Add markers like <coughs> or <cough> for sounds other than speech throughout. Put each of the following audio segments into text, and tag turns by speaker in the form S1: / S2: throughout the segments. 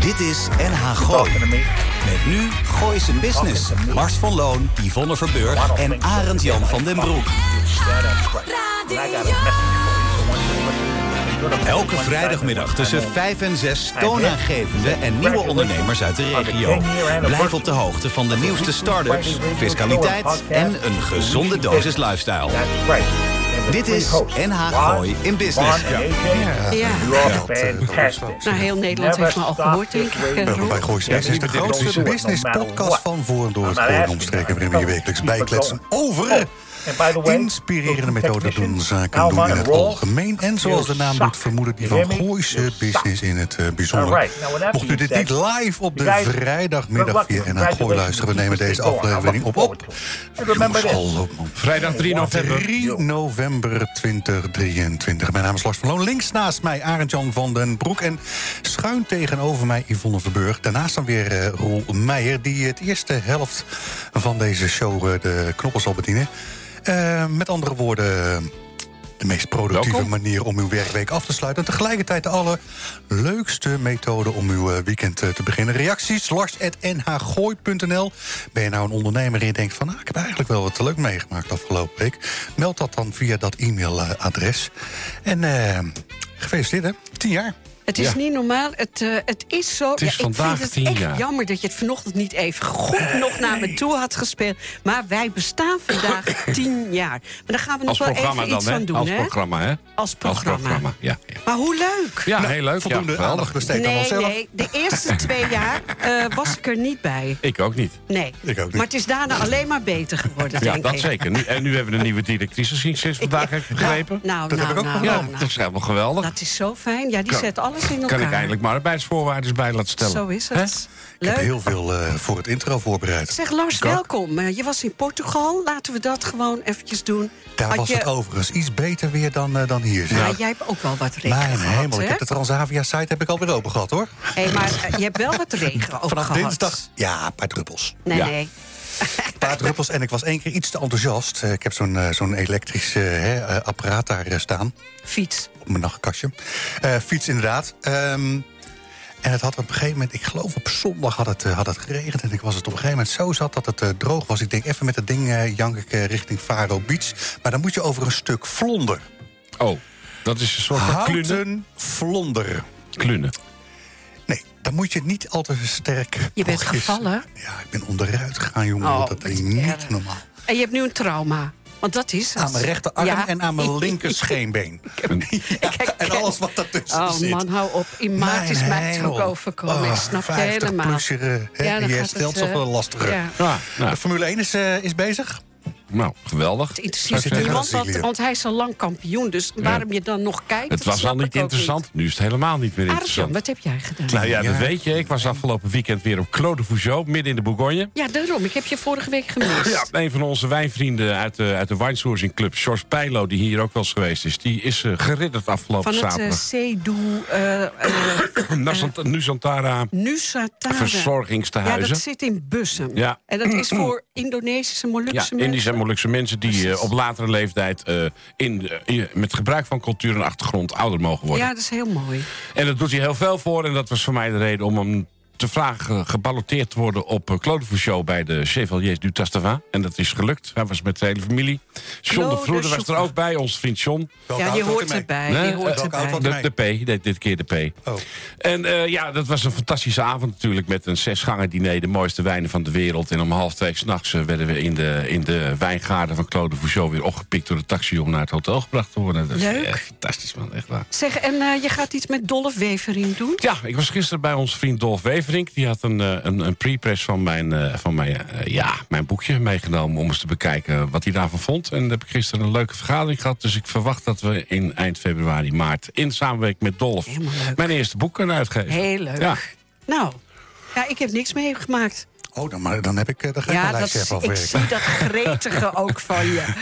S1: Dit is NH Gooi. Met nu Gooise Business. Lars van Loon, Yvonne Verburg en Arend-Jan van den Broek. Elke vrijdagmiddag tussen 5 en 6 toonaangevende en nieuwe ondernemers uit de regio. Blijf op de hoogte van de nieuwste start-ups, fiscaliteit en een gezonde dosis lifestyle. Dit is NH Gooi in Business.
S2: Ja.
S3: Fantastic.
S2: Nou, heel Nederland heeft me al gehoord, denk ik. eh,
S3: Ja,
S2: Roel.
S3: bij Gooi Slechts is de grootste business podcast van voor en door het Gooi en omstreken... waarin we je wekelijks bijkletsen Dus over inspirerende methoden doen, zaken doen in het algemeen... en zoals de naam doet vermoeden, die van Gooise business in het eh, bijzonder. Mocht u dit niet live op de vrijdagmiddag via NH Gooi luisteren... we nemen deze aflevering op op. Jongens, hallo, man.
S4: Vrijdag 3 november.
S3: 3 november 2023. Mijn naam is Lars van Loon. Links naast mij Arend-Jan van den Broek. En schuin tegenover mij Yvonne Verburg. Daarnaast dan weer eh, Roel Meijer... die het eerste helft van deze show eh, de knoppen zal bedienen. Eh, met andere woorden... eh, De meest productieve
S4: Welkom.
S3: manier om uw werkweek af te sluiten. En tegelijkertijd de allerleukste methode om uw eh, weekend eh, te beginnen. Reacties, lars.nhgooi.nl. Ben je nou een ondernemer en je denkt van... Ah, ik heb eigenlijk wel wat leuk meegemaakt afgelopen week. Meld dat dan via dat e-mailadres. En eh, gefeliciteerd hè, tien jaar.
S2: Het is niet normaal. Het, eh, het is zo.
S4: is
S2: ik
S4: vandaag
S2: vind het
S4: 10
S2: echt
S4: jaar.
S2: jammer dat je het vanochtend niet even goed nog naar me toe had gespeeld. Maar wij bestaan vandaag
S4: <coughs>
S2: tien jaar. Maar daar gaan we nog
S4: Als
S2: wel
S4: programma
S2: even iets
S4: dan, hè?
S2: van doen,
S4: Als
S2: hè?
S4: programma, hè?
S2: Als programma. Nou,
S4: ja. ja.
S2: Maar hoe leuk!
S4: Ja, heel leuk.
S3: Nou, Voldoende
S4: ja, geweldig.
S3: aandacht besteed aan
S2: Nee,
S3: onszelf.
S2: nee, de
S4: <coughs>
S2: eerste twee jaar eh, was ik er niet bij.
S4: Ik ook niet.
S2: Nee,
S3: Ik ook niet.
S2: maar het is daarna alleen maar beter geworden,
S4: Ja,
S2: denk
S4: dat
S2: ik.
S4: zeker. Nu, en nu hebben we een nieuwe directrice sinds vandaag, heb ik begrepen.
S2: Nou,
S3: Dat
S2: nou,
S3: heb ik ook
S2: nou,
S4: ja,
S2: nou, nou.
S4: dat is helemaal geweldig.
S2: Dat is zo fijn. Ja, die
S4: Kan-
S2: zet alles in elkaar.
S4: kan ik eindelijk mijn arbeidsvoorwaarden bij laten stellen.
S2: Zo is
S4: Hè?
S2: het.
S3: Ik heb
S2: Leuk.
S3: heel veel eh, voor het intro voorbereid.
S2: Zeg Lars,
S3: Ik ook.
S2: welkom. Eh, Je was in Portugal. Laten we dat gewoon eventjes doen.
S3: Daar
S2: Had
S3: was
S2: je-
S3: het overigens iets beter weer dan, eh, dan hier. zeg.
S2: Ja, jij hebt ook wel wat regen
S3: Mijn
S2: gehad,
S3: hemel, ik
S2: hè?
S3: heb de Transavia-site heb ik alweer open gehad, hoor.
S2: Hey, maar eh, je hebt wel wat
S3: <laughs>
S2: regen ook
S3: Vanaf
S2: gehad.
S3: dinsdag. Ja, een paar druppels.
S2: Nee,
S4: Ja.
S2: nee.
S3: Een paar druppels en ik was één keer iets te enthousiast. Eh, Ik heb zo'n eh, zo'n elektrisch eh, hè, eh, apparaat daar eh, staan.
S2: Fiets.
S3: Op mijn nachtkastje. Eh, fiets inderdaad. Ehm, en het had op een gegeven moment, ik geloof op zondag had het, eh, had het geregend. En ik was het op een gegeven moment zo zat dat het eh, droog was. Ik denk even met dat ding eh, jank ik eh, richting Faro Beach. Maar dan moet je over een stuk vlonder.
S4: Oh, dat is een soort van klunen.
S3: Houten vlonder.
S4: klunen.
S3: Nee, dan moet je niet al te sterk.
S2: Je bent
S3: bochtjes-
S2: gevallen?
S3: Ja, ik ben onderuit gegaan, jongen.
S2: Oh,
S3: want dat
S2: wat
S3: is
S2: erg.
S3: niet normaal.
S2: En je hebt nu een trauma. Want dat is het.
S3: Aan mijn rechterarm
S2: Ja.
S3: en aan mijn
S2: <laughs>
S3: linker scheenbeen. Ja, en alles wat daartussen
S2: Oh
S3: zit.
S2: man, hou op. In maart is mij het ook overkomen. ik snap je helemaal.
S3: Plusje, hè,
S2: Ja, dan
S3: je
S2: gaat
S3: herstelt
S2: het,
S3: zich
S2: eh,
S3: wel lastiger.
S2: ja.
S4: Ja,
S3: Ah, De
S4: nou,
S3: Formule 1 is, eh, is bezig.
S4: nou, geweldig.
S2: Het interesseert
S3: Zou ik
S2: niemand,
S3: zeggen,
S2: want, want hij is al lang kampioen. Dus waarom je dan nog kijkt,
S4: Het
S2: dat
S4: was
S2: snap
S4: al
S2: ik
S4: niet
S2: ook
S4: interessant. Nu is het helemaal niet meer
S2: niet. Arjan,
S4: interessant.
S2: wat heb jij gedaan?
S4: Nou ja, dat
S3: Ja.
S4: weet je. Ik was afgelopen weekend weer op Clos de Fougeot, midden in de Bourgogne.
S2: Ja, daarom. Ik heb je vorige week gemist.
S4: <laughs> Ja, een van onze wijnvrienden uit de, uit de winesourcing club, George Pijlo, die hier ook wel eens geweest is, die is eh, geridderd afgelopen
S2: Van het eh,
S4: zaterdag.
S2: Cedu eh, eh, <coughs>
S4: <laughs> Nasant- nu Santara
S2: Nusatara. Ja,
S4: verzorgingstehuizen.
S2: dat zit in Bussum.
S4: Ja.
S2: En dat is voor <coughs> Indonesische
S4: Ja,
S2: Molukse mensen.
S4: Indische en Molukse mensen die eh, op latere leeftijd eh, in, in- met gebruik van cultuur en achtergrond ouder mogen worden.
S2: Ja, dat is heel mooi.
S4: En dat doet hij heel veel voor. En dat was voor mij de reden om hem te vragen eh, geballoteerd te worden op eh, Claude Show bij de Chevaliers du Tastavin. En dat is gelukt. Hij was met de hele familie. John de
S2: Claude
S4: Vroeder was er
S2: Chopin.
S4: ook bij, ons vriend John.
S3: Welke
S2: ja, je
S3: auto
S2: hoort
S3: ermee?
S2: erbij.
S4: Nee,
S2: je hoort
S3: welke
S2: erbij.
S3: auto?
S4: De, de P, dit, dit keer de P.
S3: Oh.
S4: En eh, ja, dat was een fantastische avond natuurlijk. Met een zesgangen diner, de mooiste wijnen van de wereld. En om half twee s'nachts eh, werden we in de, in de wijngaarden van Claude Fouchot weer opgepikt door de taxi om naar het hotel gebracht te worden. Dat is
S2: Leuk.
S4: echt fantastisch, man. Echt waar.
S2: Zeg, en eh, je gaat iets met Dolph Wevering doen?
S4: Ja, ik was gisteren bij onze vriend Dolf Weverink. Die had een, eh, een, een pre-press van, mijn, eh, van mijn, eh, ja, mijn boekje meegenomen... om eens te bekijken wat hij daarvan vond. En daar heb ik gisteren een leuke vergadering gehad. Dus ik verwacht dat we in eind februari, maart... in samenwerking met Dolf
S2: Helemaal leuk.
S4: mijn eerste boek kunnen uitgeven.
S2: Heel leuk.
S4: Ja.
S2: Nou, ja, ik heb niks meegemaakt.
S3: Oh, dan, maar, dan heb ik, eh, dan ga ik
S2: Ja,
S3: mijn
S2: dat,
S3: lijstje even
S2: ik
S3: afwerken.
S2: zie dat
S3: <laughs>
S2: gretige ook van je.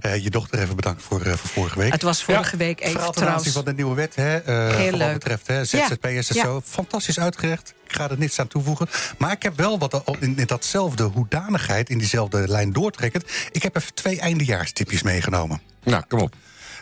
S3: Eh, je dochter even bedankt voor, eh, voor vorige week.
S2: Het was vorige week
S3: Verhaal
S2: even
S3: ten aanzien
S2: trouwens.
S3: van de nieuwe wet, hè, eh,
S2: Heel
S3: voor wat
S2: leuk.
S3: betreft hè, ZZP'ers en
S2: Ja.
S3: zo. Fantastisch uitgerecht. Ik ga er niks aan toevoegen. Maar ik heb wel wat al- in, in datzelfde hoedanigheid, in diezelfde lijn doortrekkend. Ik heb even twee eindejaarstipjes meegenomen.
S4: Nou, kom op.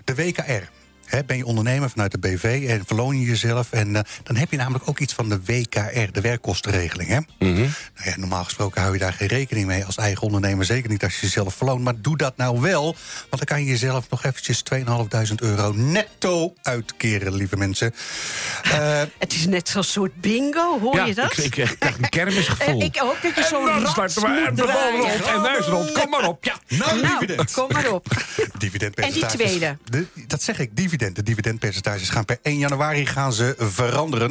S3: De WKR. Hè, ben je ondernemer vanuit de BV en verloon je jezelf. En eh, dan heb je namelijk ook iets van de WKR, de werkkostenregeling. Hè? Nou ja, normaal gesproken hou je daar geen rekening mee als eigen ondernemer. Zeker niet als je jezelf verloont. Maar doe dat nou wel. Want dan kan je jezelf nog eventjes 2.500 euro netto uitkeren, lieve mensen. Eh,
S2: Het is net zo'n soort bingo, hoor
S4: Ja,
S2: je dat?
S4: ik, ik, ik krijg een
S2: Eh,
S4: kermisgevoel.
S2: ik hoop dat je zo'n
S4: dan
S2: rat
S4: starten we en
S2: moet
S4: de bal
S2: draaien.
S4: rond en neus rond. Kom maar op, ja.
S3: nou,
S2: Nou,
S3: dividend.
S2: kom maar
S3: <laughs>
S2: op.
S3: Dividendpercentages.
S2: En die tweede?
S3: De- dat zeg ik, dividend. De dividendpercentages gaan per 1 januari gaan ze veranderen.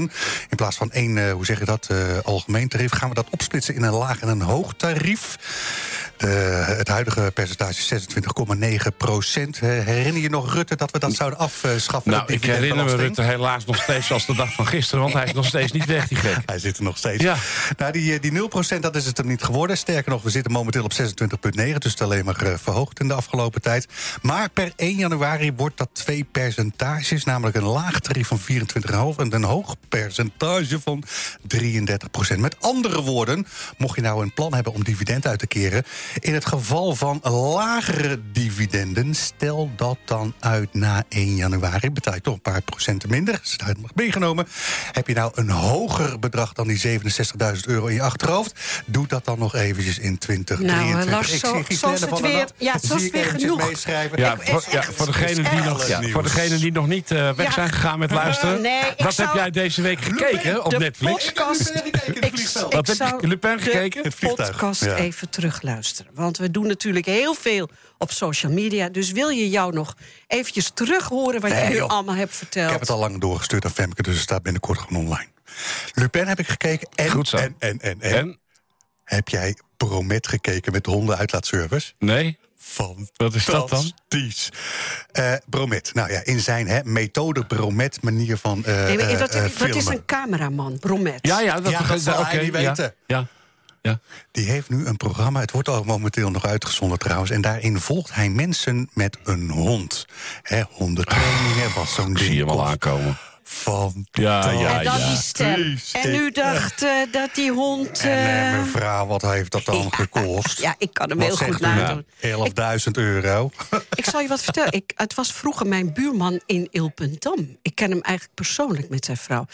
S3: In plaats van één, eh, hoe zeg je dat, eh, algemeen tarief... gaan we dat opsplitsen in een laag en een hoog tarief. De, het huidige percentage is 26,9 procent. Herinner je nog, Rutte, dat we dat zouden afschaffen?
S4: Nou,
S3: de
S4: ik herinner me
S3: dividendbelasting?
S4: Rutte helaas nog steeds als de dag van gisteren... want hij is nog steeds niet weg, die gek.
S3: Hij zit er nog steeds.
S4: Ja.
S3: Nou, die, eh, die 0% dat is het hem niet geworden. Sterker nog, we zitten momenteel op 26,9. Dus het alleen maar eh, verhoogd in de afgelopen tijd. Maar per 1 januari wordt dat twee percentages. Namelijk een laag tarief van 24,5 en een hoog percentage van 33%. Met andere woorden, mocht je nou een plan hebben om dividend uit te keren... in het geval van lagere dividenden... stel dat dan uit na 1 januari. Betaal je toch een paar procenten minder. Is het nog meegenomen. Heb je nou een hoger bedrag dan die 67.000 euro in je achterhoofd? Doe dat dan nog eventjes in 2023.
S2: Nou, eh, Lars,
S3: Ik
S2: zo-
S3: zie
S2: zo
S3: Ghislaine
S2: is het
S3: van der
S2: weer-
S3: Nat.
S2: ja, zo is
S3: Zie ik
S2: het weer
S3: eventjes
S2: genoeg.
S3: meeschrijven.
S4: Ja,
S2: Ik-
S4: voor,
S2: is
S4: ja,
S2: echt-
S4: voor,
S2: is
S4: degenen die
S2: echt
S4: nog,
S3: alles
S4: ja,
S3: nieuws.
S4: voor degenen die nog niet eh, weg
S2: Ja.
S4: zijn gegaan met luisteren...
S2: Nee, ik
S4: wat
S2: zou-
S4: heb jij deze week gekeken op
S2: de
S4: Netflix?
S2: Podcast,
S3: Ik heb Lupin gekeken in het
S2: Ik-
S3: vliegveld.
S2: ik
S4: Wat heb je-
S2: zou
S4: Lupin
S2: de
S4: gekeken? In
S3: het vliegtuig,
S2: podcast
S3: ja.
S2: even terugluisteren. Want we doen natuurlijk heel veel op social media. Dus wil je jou nog eventjes terug horen wat je
S3: Nee,
S2: nu
S3: joh.
S2: allemaal hebt
S3: Ik heb het
S2: verteld?
S3: al lang doorgestuurd aan Femke, dus het staat binnenkort gewoon online. Lupin heb ik gekeken en,
S4: Goed zo.
S3: en, en, en, en.
S4: En?
S3: Heb jij Promet gekeken met de hondenuitlaatservice?
S4: Nee?
S3: Fantastisch.
S4: Wat is dat dan?
S3: Eh, Bromet. Nou ja, in zijn hè, methode Bromet manier van eh
S2: Nee, maar
S3: eh,
S2: wat,
S3: eh,
S2: wat is
S3: filmen.
S2: een cameraman, Bromet?
S4: Ja, ja, dat,
S3: Ja, dat zal
S4: oké,
S3: hij niet
S4: ja,
S3: weten.
S4: Ja, ja.
S3: Die heeft nu een programma. Het wordt al momenteel nog uitgezonden trouwens. En daarin volgt hij mensen met een hond. Hè, hondentrainingen, wat zo'n ding
S4: Ah, Ik zie hem al
S3: kost.
S4: aankomen.
S3: Van
S4: Ja, ja,
S2: En dan
S4: ja.
S2: die stem.
S3: Precies.
S2: En nu dacht eh, dat die hond...
S3: En
S2: eh,
S3: eh, mevrouw, wat heeft dat dan gekost?
S2: ja, ik kan hem
S3: Wat
S2: heel goed
S3: zegt u? nou?
S2: nadoen.
S3: 11.000 euro.
S2: Ik zal je wat vertellen. Ik, het was vroeger mijn buurman in Ilpendam. Ik ken hem eigenlijk persoonlijk met zijn vrouw.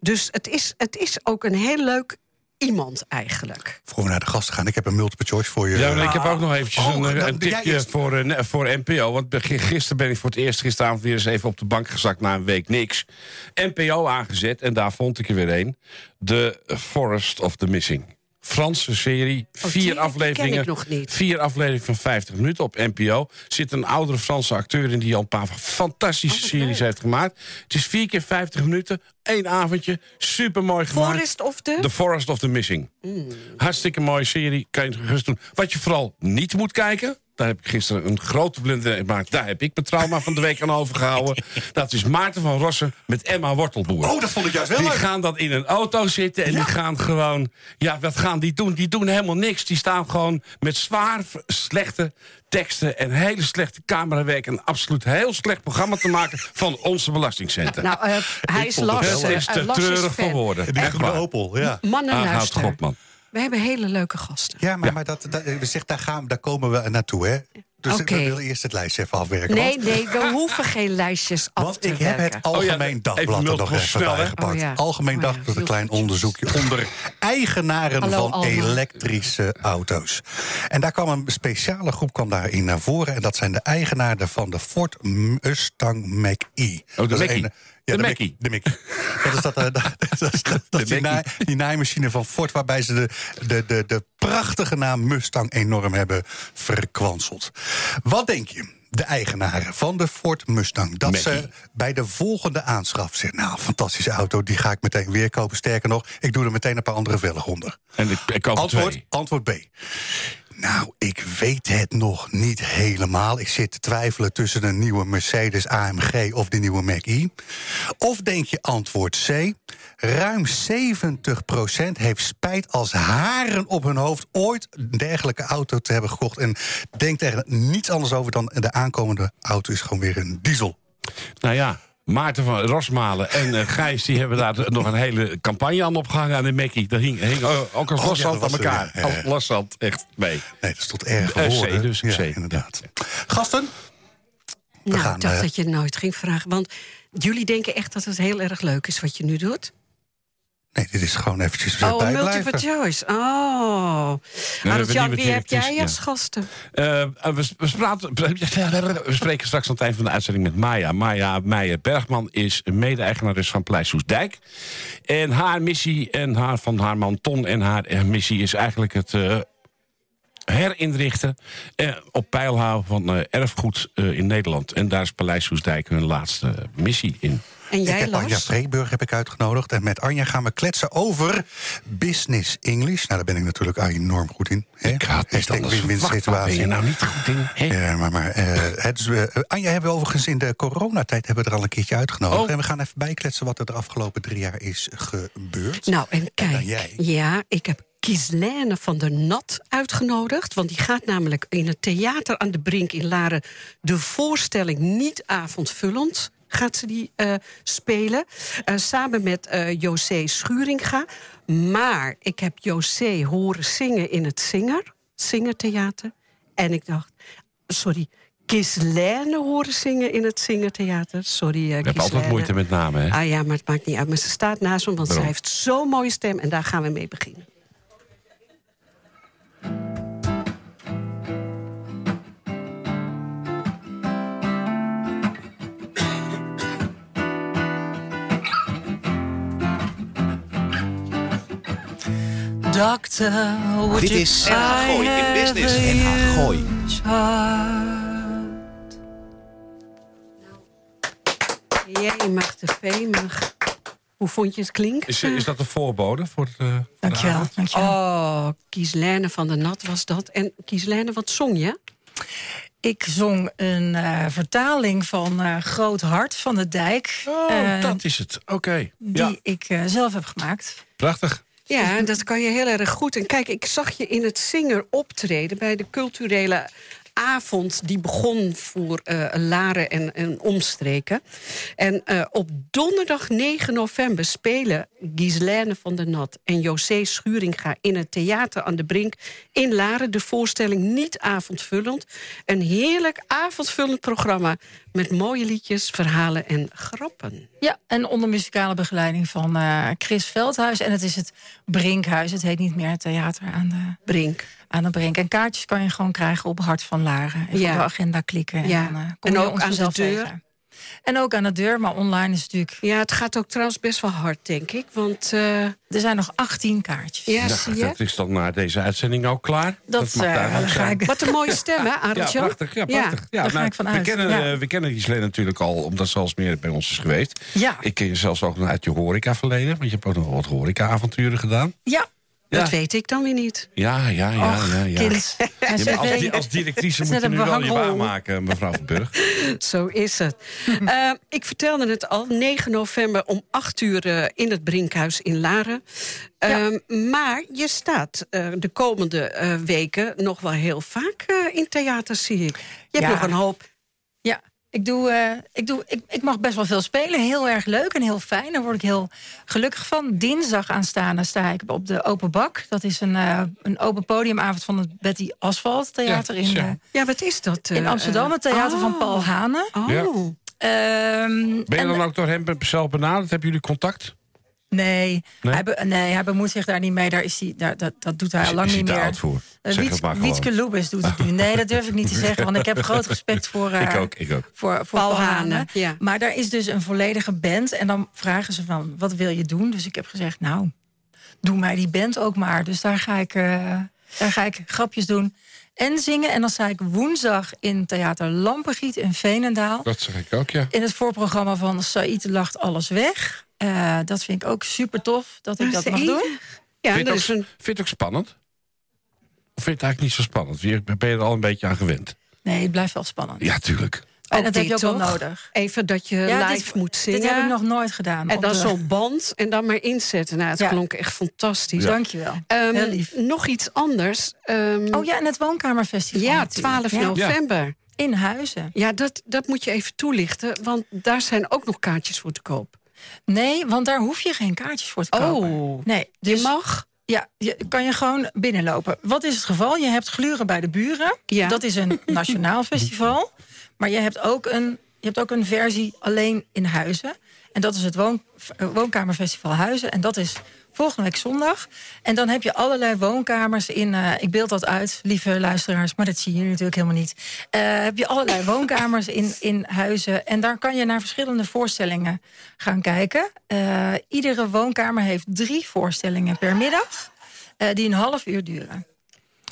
S2: Dus het is, het is ook een heel leuk iemand eigenlijk.
S3: Voor we naar de gasten gaan. Ik heb een multiple choice voor je.
S4: Ja, maar ik
S2: Ah.
S4: heb ook nog eventjes
S3: Oh,
S4: een,
S2: nou,
S3: dan
S4: eh, een
S3: doe jij
S4: tipje
S3: eerst.
S4: voor, eh, ne- voor NPO. Want be- gisteren ben ik voor het eerst gisteravond weer eens even op de bank gezakt... na een week niks. NPO aangezet en daar vond ik er weer een. The Forest of the Missing. Franse serie,
S2: Oh, die
S4: vier
S2: ken
S4: afleveringen.
S2: ik nog niet.
S4: Vier afleveringen van 50 minuten op NPO. Zit een oudere Franse acteur in die al een paar
S2: Oh,
S4: fantastische series heeft gemaakt. Het is vier keer 50 minuten, één avondje. Supermooi gemaakt.
S2: Forest of the...
S4: The Forest of the Missing.
S3: Mm.
S4: Hartstikke mooie serie, kan je gerust doen. Wat je vooral niet moet kijken... Daar heb ik gisteren een grote blunder in gemaakt. Daar heb ik mijn trauma van de week aan
S3: <laughs>
S4: overgehouden. Dat is Maarten van Rossen met Emma Wortelboer.
S3: Oh, dat vond ik juist wel
S4: Die
S3: leuk.
S4: gaan dan in een auto zitten en die gaan gewoon... Ja, wat gaan die doen? Die doen helemaal niks. Die staan gewoon met zwaar v- slechte teksten... en hele slechte camerawerk... een absoluut heel slecht programma te maken... van onze belastingcenten.
S2: Nou, eh, hij is
S3: vond het
S2: Lars.
S4: dat is
S2: eh,
S4: te
S2: Lars is
S4: treurig voor
S2: fan.
S4: woorden.
S3: Die
S4: Echt
S3: groene
S4: waar.
S3: Opel, ja.
S2: Mannen,
S4: Aanhoud
S2: luisteren.
S4: God, man.
S2: We hebben hele leuke gasten.
S3: Ja, maar, maar dat, dat, we zeggen, daar, gaan, daar komen we naartoe, hè? Dus ik
S2: Oké.
S3: wil eerst het lijstje even afwerken.
S2: Nee,
S3: want-
S2: nee,
S3: <laughs>
S2: we hoeven geen lijstjes af
S3: Want
S2: te
S3: ik heb
S2: werken.
S3: het Algemeen
S4: Oh ja, even
S3: Dagblad er nog
S4: multiple
S3: even
S4: snel, hè?
S3: bij gepakt.
S2: Oh ja.
S3: Algemeen
S2: Oh ja,
S3: Dagblad, een klein
S2: multiple.
S3: onderzoekje onder eigenaren
S2: Hallo,
S3: van
S2: Alma.
S3: elektrische auto's. En daar kwam een speciale groep kwam daarin naar voren. En dat zijn de eigenaren van de Ford Mustang Mach-E. Dat is
S4: Mackie.
S3: een-
S4: Oh, De
S3: Ja, de
S4: Mackie.
S3: Mackie. De Mickey. Dat is dat, eh, <laughs> dat, dat is dat- dat
S4: Mackie.
S3: die, naai- die naaimachine van Ford... waarbij ze de, de, de, de prachtige naam Mustang enorm hebben verkwanseld. Wat denk je? De eigenaren van de Ford Mustang. Dat ze
S4: Mackie.
S3: bij de volgende aanschaf zeggen... nou, fantastische auto, die ga ik meteen weer kopen. Sterker nog, ik doe er meteen een paar andere velgen onder.
S4: En ik, ik koop er
S3: Antwoord,
S4: twee.
S3: antwoord B. Nou, ik weet het nog niet helemaal. Ik zit te twijfelen tussen een nieuwe Mercedes AMG of de nieuwe Mac-E. Of denk je antwoord C? Ruim 70% heeft spijt als haren op hun hoofd ooit een dergelijke auto te hebben gekocht. En denkt er niets anders over dan de aankomende auto is gewoon weer een diesel.
S4: Nou ja, Maarten van Rosmalen en eh, Gijs... die hebben daar nog een hele campagne aan opgehangen aan de Mackie. Dat hing, hing, eh, ook als
S3: Oh,
S4: loszand
S3: ja, dat
S4: aan
S3: was <laughs>
S4: elkaar.
S3: er, ja.
S4: Als loszand, echt, mee.
S3: Nee, dat stond erg
S4: Eh, C
S3: woorden.
S4: dus,
S3: ja,
S4: C.
S3: inderdaad. Gasten? We
S2: nou,
S3: gaan,
S2: ik dacht
S3: eh,
S2: dat je nooit ging vragen. Want jullie denken echt dat het heel erg leuk is wat je nu doet?
S3: Nee, dit is gewoon eventjes
S2: Oh,
S3: erbij
S2: een
S3: blijven.
S2: multiple choice. Oh.
S4: we
S2: Arend
S4: hebben
S2: Jan,
S4: niet
S2: wie heb
S4: meteen-
S2: jij
S4: ja.
S2: als gasten?
S4: Eh, we, we, spraten- <laughs> we spreken straks aan het eind van de uitzending met Maya. Maya Meijer Bergman is mede-eigenares van Paleis Soesdijk. En haar missie en haar, van haar man Ton en haar eh, missie is eigenlijk het eh, herinrichten eh, op peil houden van eh, erfgoed eh, in Nederland. En daar is Paleis Soesdijk hun laatste missie in.
S2: En
S3: ik
S2: jij,
S3: heb oh, Anja
S2: Lars?
S3: Vreeburg heb ik uitgenodigd. En met Anja gaan we kletsen over business English. Nou, daar ben ik natuurlijk enorm goed in. hè.
S4: Ik had niet
S3: Hashtag
S4: anders
S3: win-win
S4: verwacht. Waar Ben je
S3: situatie.
S4: nou niet goed in? hè?
S3: Ja, maar, maar eh, het is, eh, Anja hebben we overigens in de coronatijd hebben we er al een keertje uitgenodigd.
S4: Oh.
S3: En we gaan even bijkletsen wat er de afgelopen drie jaar is gebeurd.
S2: Nou, en kijk.
S3: jij.
S2: Ja, ik heb Kislene van der Nat uitgenodigd. Want die gaat namelijk in het theater aan de Brink in Laren... de voorstelling Niet avondvullend gaat ze die eh, spelen. Eh, samen met eh José Schuringa. Maar ik heb José horen zingen in het Singer. Singertheater. En ik dacht, sorry... Kislene horen zingen in het Singertheater. Sorry, eh
S4: We hebben altijd
S2: Ghislaine.
S4: moeite met namen, hè?
S2: Ah ja, maar het maakt niet uit. Maar ze staat naast hem, want
S4: Waarom?
S2: zij heeft zo'n mooie stem. En daar gaan we mee beginnen.
S5: Doctor, would
S1: Dit
S5: you
S1: is
S5: kindly
S1: Gooi in Business. En Gooi.
S5: charge?
S2: Jee, mag de mag. Hoe vond je het klinken?
S4: Is, is dat de voorbode voor het... eh, voor de
S5: Dankjewel,
S4: avond?
S5: dankjewel.
S2: Oh, Kieslijne van de Nat was dat. En Kieslijne, wat zong je?
S5: Oh, Ik zong een eh, vertaling van eh, Groot Hart van de Dijk.
S4: Oh,
S5: eh,
S4: dat is het. Oké.
S5: Die
S4: Ja,
S5: ik eh, zelf heb gemaakt.
S4: prachtig.
S2: Ja, dat kan je heel erg goed. En kijk, ik zag je in het Singer optreden bij de culturele avond die begon voor eh, Laren en, en omstreken. En eh, op donderdag 9 november spelen Ghislaine van der Nat en José Schuringa in het theater aan de Brink in Laren de voorstelling Niet avondvullend. Een heerlijk avondvullend programma met mooie liedjes, verhalen en grappen.
S5: Ja, en onder muzikale begeleiding van eh, Chris Veldhuis. En het is het Brinkhuis. Het heet niet meer het theater aan de,
S2: Brink.
S5: aan de Brink. En kaartjes kan je gewoon krijgen op Hart van Laren. Even
S2: Ja.
S5: op de agenda klikken.
S2: Ja.
S5: En, dan, eh, kom
S2: En
S5: je
S2: ook
S5: ons
S2: aan de
S5: vanzelf
S2: deur.
S5: tegen. En ook aan de deur, maar online is het natuurlijk...
S2: Ja, het gaat ook trouwens best wel hard, denk ik. Want eh,
S5: Er zijn nog 18 kaartjes.
S2: Ja,
S4: Ja,
S2: zie je?
S4: dat is dan na deze uitzending al klaar.
S5: Dat,
S4: mag
S5: eh,
S4: duidelijk
S5: ga
S4: zijn.
S5: ik
S2: Wat een mooie stem, hè,
S4: Ja,
S2: Arend Jan?
S4: prachtig. Ja, prachtig. Ja, nou,
S5: daar ga ik van
S4: we
S5: uit,
S4: kennen,
S5: ja.
S4: eh, we kennen Gisele natuurlijk al, omdat ze al eens meer bij ons is geweest.
S5: Ja.
S4: Ik ken je zelfs ook nog uit je horeca-verleden, want je hebt ook nog wat horeca-avonturen gedaan.
S5: Ja,
S4: Ja.
S2: Dat weet ik dan weer niet.
S4: Ja, ja, ja.
S5: Och,
S4: ja, ja.
S5: kind. En
S4: Ja, maar als, di-
S5: cv.
S4: als directrice
S5: Het is
S4: moet
S5: net
S4: je
S5: een
S4: nu wel je
S5: behangrol.
S4: baan maken, mevrouw Van Burg.
S2: <laughs> Zo is
S4: <laughs>
S2: het. Eh, ik vertelde het al, 9 november om 8 uur eh, in het Brinkhuis in Laren. Ehm, Maar je staat eh, de komende eh, weken nog wel heel vaak eh, in theater, zie ik. Je hebt
S5: Ja.
S2: nog een hoop.
S5: Ja, ik, doe, eh, ik, doe, ik, ik mag best wel veel spelen. Heel erg leuk en heel fijn. Daar word ik heel gelukkig van. Dinsdag aanstaande sta ik op de Open Bak. Dat is een, eh, een open podiumavond van het Betty Asphalt Theater
S4: Ja,
S5: in,
S4: zo.
S5: eh,
S2: Ja, wat is dat? eh,
S5: in Amsterdam. Het theater
S2: oh.
S5: van Paul Hane.
S2: Oh,
S4: Ja.
S5: Ehm,
S4: Ben je
S5: en-
S4: dan ook door hem zelf benaderd? Hebben jullie contact?
S5: nee,
S4: Nee?
S5: Hij be- nee, hij bemoeit zich daar niet mee. Daar is hij, daar, dat, dat doet hij
S4: Is-
S5: al lang
S4: is hij
S5: niet
S4: te
S5: meer.
S4: oud voor?
S5: Eh,
S4: Zeg het
S5: Wiets-
S4: maar gewoon.
S5: Wietske Lubis doet het nu. Nee, dat durf ik
S4: <laughs>
S5: niet te zeggen, want ik heb groot respect voor... eh,
S4: Ik ook, ik ook.
S5: Voor, voor
S2: Paul
S5: Paul
S2: Hane,
S5: Hane.
S2: ja.
S5: Maar daar is dus een volledige band. En dan vragen ze van, wat wil je doen? Dus ik heb gezegd, nou, doe mij die band ook maar. Dus daar ga ik, eh, daar ga ik grapjes doen en zingen. En dan sta ik woensdag in Theater Lampengiet in Veenendaal.
S4: Dat zeg ik ook, ja.
S5: In het voorprogramma van Saïd lacht alles weg. Eh, dat vind ik ook super tof dat ik
S2: Ja,
S5: dat
S2: ze
S5: mag
S2: eten.
S5: doen.
S2: Ja,
S4: vind, je
S2: dat
S4: het
S2: is
S4: ook,
S2: een...
S4: vind je het ook spannend? Of vind je het eigenlijk niet zo spannend? Je- Ben je er al een beetje aan gewend?
S5: Nee, het blijft wel spannend.
S4: Ja, tuurlijk.
S5: En
S2: ook
S5: dat heb je ook
S2: dit,
S5: wel
S2: toch?
S5: nodig.
S2: Even dat je
S5: Ja,
S2: live
S5: dit,
S2: moet zingen.
S5: Dit heb ik nog nooit gedaan.
S2: En
S5: op
S2: dan
S5: de- <laughs>
S2: zo'n band en dan maar inzetten. Nou, het
S5: Ja.
S2: klonk echt fantastisch.
S5: Dankjewel.
S2: Ehm,
S5: Heel lief.
S2: Nog iets anders. Ehm,
S5: Oh ja, en het woonkamerfestival.
S2: ja,
S5: natuurlijk.
S2: 12
S5: Ja,
S2: november. Ja,
S5: In Huizen.
S2: dat, dat moet je even toelichten, want daar zijn ook nog kaartjes voor te koop.
S5: Nee, want daar hoef je geen kaartjes voor te kopen.
S2: Oh.
S5: Nee, dus
S2: je mag.
S5: ja, je, kan je gewoon binnenlopen. Wat is het geval? Je hebt Gluren bij de Buren.
S2: Ja.
S5: Dat is een nationaal festival. Maar je hebt ook een, je hebt ook een versie alleen in Huizen. En dat is het woon, eh, Woonkamerfestival Huizen. En dat is volgende week zondag. En dan heb je allerlei woonkamers in... eh, ik beeld dat uit, lieve luisteraars, maar dat zien jullie natuurlijk helemaal niet. Eh, heb je allerlei woonkamers in, in huizen. En daar kan je naar verschillende voorstellingen gaan kijken. Eh, iedere woonkamer heeft drie voorstellingen per middag... eh, die een half uur duren.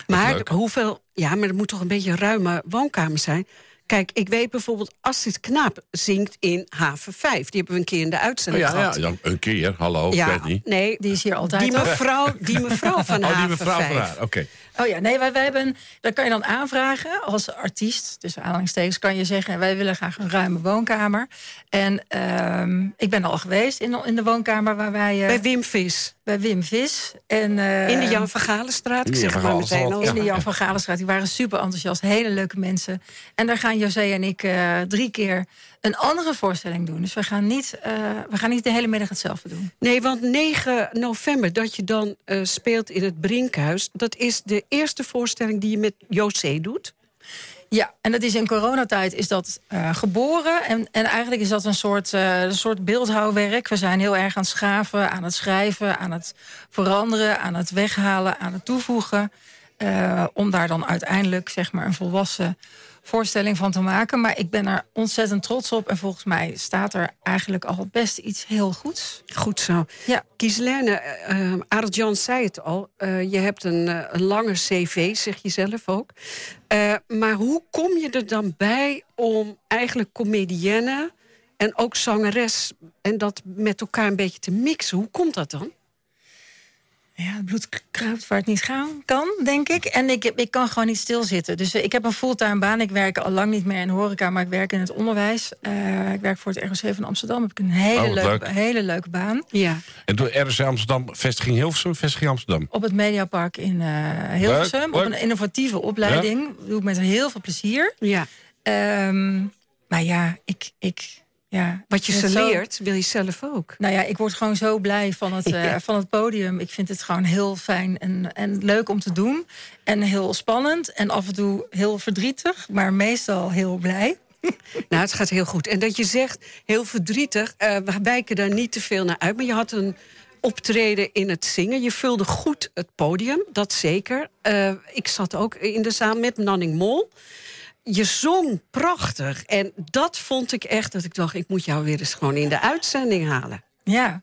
S2: Maar
S4: leuk.
S2: hoeveel. Ja, maar er moet toch een beetje een ruime woonkamer zijn. Kijk, ik weet bijvoorbeeld Astrid Knaap zingt in Haven 5. Die hebben we een keer in de uitzending
S4: Oh ja, ja,
S2: gehad.
S4: ja, een keer. Hallo, ik weet niet.
S2: nee,
S5: Die is hier altijd,
S2: Die
S5: toch?
S2: mevrouw, die
S4: <laughs>
S2: mevrouw van
S4: Oh, die
S2: Haven
S4: mevrouw van
S2: 5.
S4: haar. Oké.
S5: Oh ja, nee, wij, wij hebben, dat kan je dan aanvragen als artiest. Dus aanhalingstekens kan je zeggen, wij willen graag een ruime woonkamer. En ehm, ik ben al geweest in, de- in de woonkamer waar wij, eh,
S2: Bij Wim Vis.
S5: bij Wim Vis. En, eh,
S2: In de Jan van Galenstraat. Ik
S4: in de
S2: zeg
S4: Jan
S2: het
S4: van
S2: maar meteen al.
S4: Galenstraat,
S5: in de Jan van Galenstraat, die waren super enthousiast. Hele leuke mensen. En daar gaan José en ik eh, drie keer een andere voorstelling doen. Dus we gaan, niet, eh, we gaan niet de hele middag hetzelfde doen.
S2: Nee, want 9 november, dat je dan eh, speelt in het Brinkhuis... dat is de eerste voorstelling die je met José doet.
S5: Ja, en dat is in coronatijd is dat eh, geboren. En, en eigenlijk is dat een soort, eh, een soort beeldhouwwerk. We zijn heel erg aan het schaven, aan het schrijven, aan het veranderen, aan het weghalen, aan het toevoegen. eh, om daar dan uiteindelijk zeg maar, een volwassen voorstelling van te maken. Maar ik ben er ontzettend trots op. En volgens mij staat er eigenlijk al best iets heel goeds.
S2: Goed zo.
S5: Ja.
S2: Kieslerne, eh Arend Jan zei het al. eh, je hebt een, eh, een lange cv, zeg je zelf ook. Eh, maar hoe kom je er dan bij om eigenlijk comedienne... en ook zangeres, en dat met elkaar een beetje te mixen? Hoe komt dat dan?
S5: Ja, het bloed kruipt waar het niet gaan kan, denk ik. En ik, heb- ik kan gewoon niet stilzitten. Dus eh, ik heb een fulltime baan. Ik werk al lang niet meer in de horeca, maar ik werk in het onderwijs. Eh, ik werk voor het ROC van Amsterdam. Heb ik een hele,
S4: Oh, wat
S5: leuke,
S4: leuk.
S5: hele leuke baan.
S2: Ja.
S4: En door RSC Amsterdam, vestiging Hilversum, vestiging Amsterdam.
S5: Op het Mediapark in eh Hilversum. Op
S4: Leuk, leuk.
S5: een innovatieve opleiding. Doe ik met heel veel plezier.
S2: ja.
S5: Ehm, maar ja, ik... ik ja,
S2: Wat je
S5: het
S2: ze
S5: zo-
S2: leert, wil je zelf ook.
S5: Nou ja, ik word gewoon zo blij van
S4: <laughs>
S5: het, eh, van het podium. Ik vind het gewoon heel fijn en, en leuk om te doen. En heel spannend en af en toe heel verdrietig, maar meestal heel blij.
S2: Nou, het gaat heel goed. En dat je zegt, heel verdrietig, eh, we wijken daar niet te veel naar uit. Maar je had een optreden in het zingen. Je vulde goed het podium, dat zeker. Eh, ik zat ook in de zaal met Nanning Mol. Je zong prachtig. En dat vond ik echt, dat ik dacht, ik moet jou weer eens gewoon in de uitzending halen.
S5: Ja,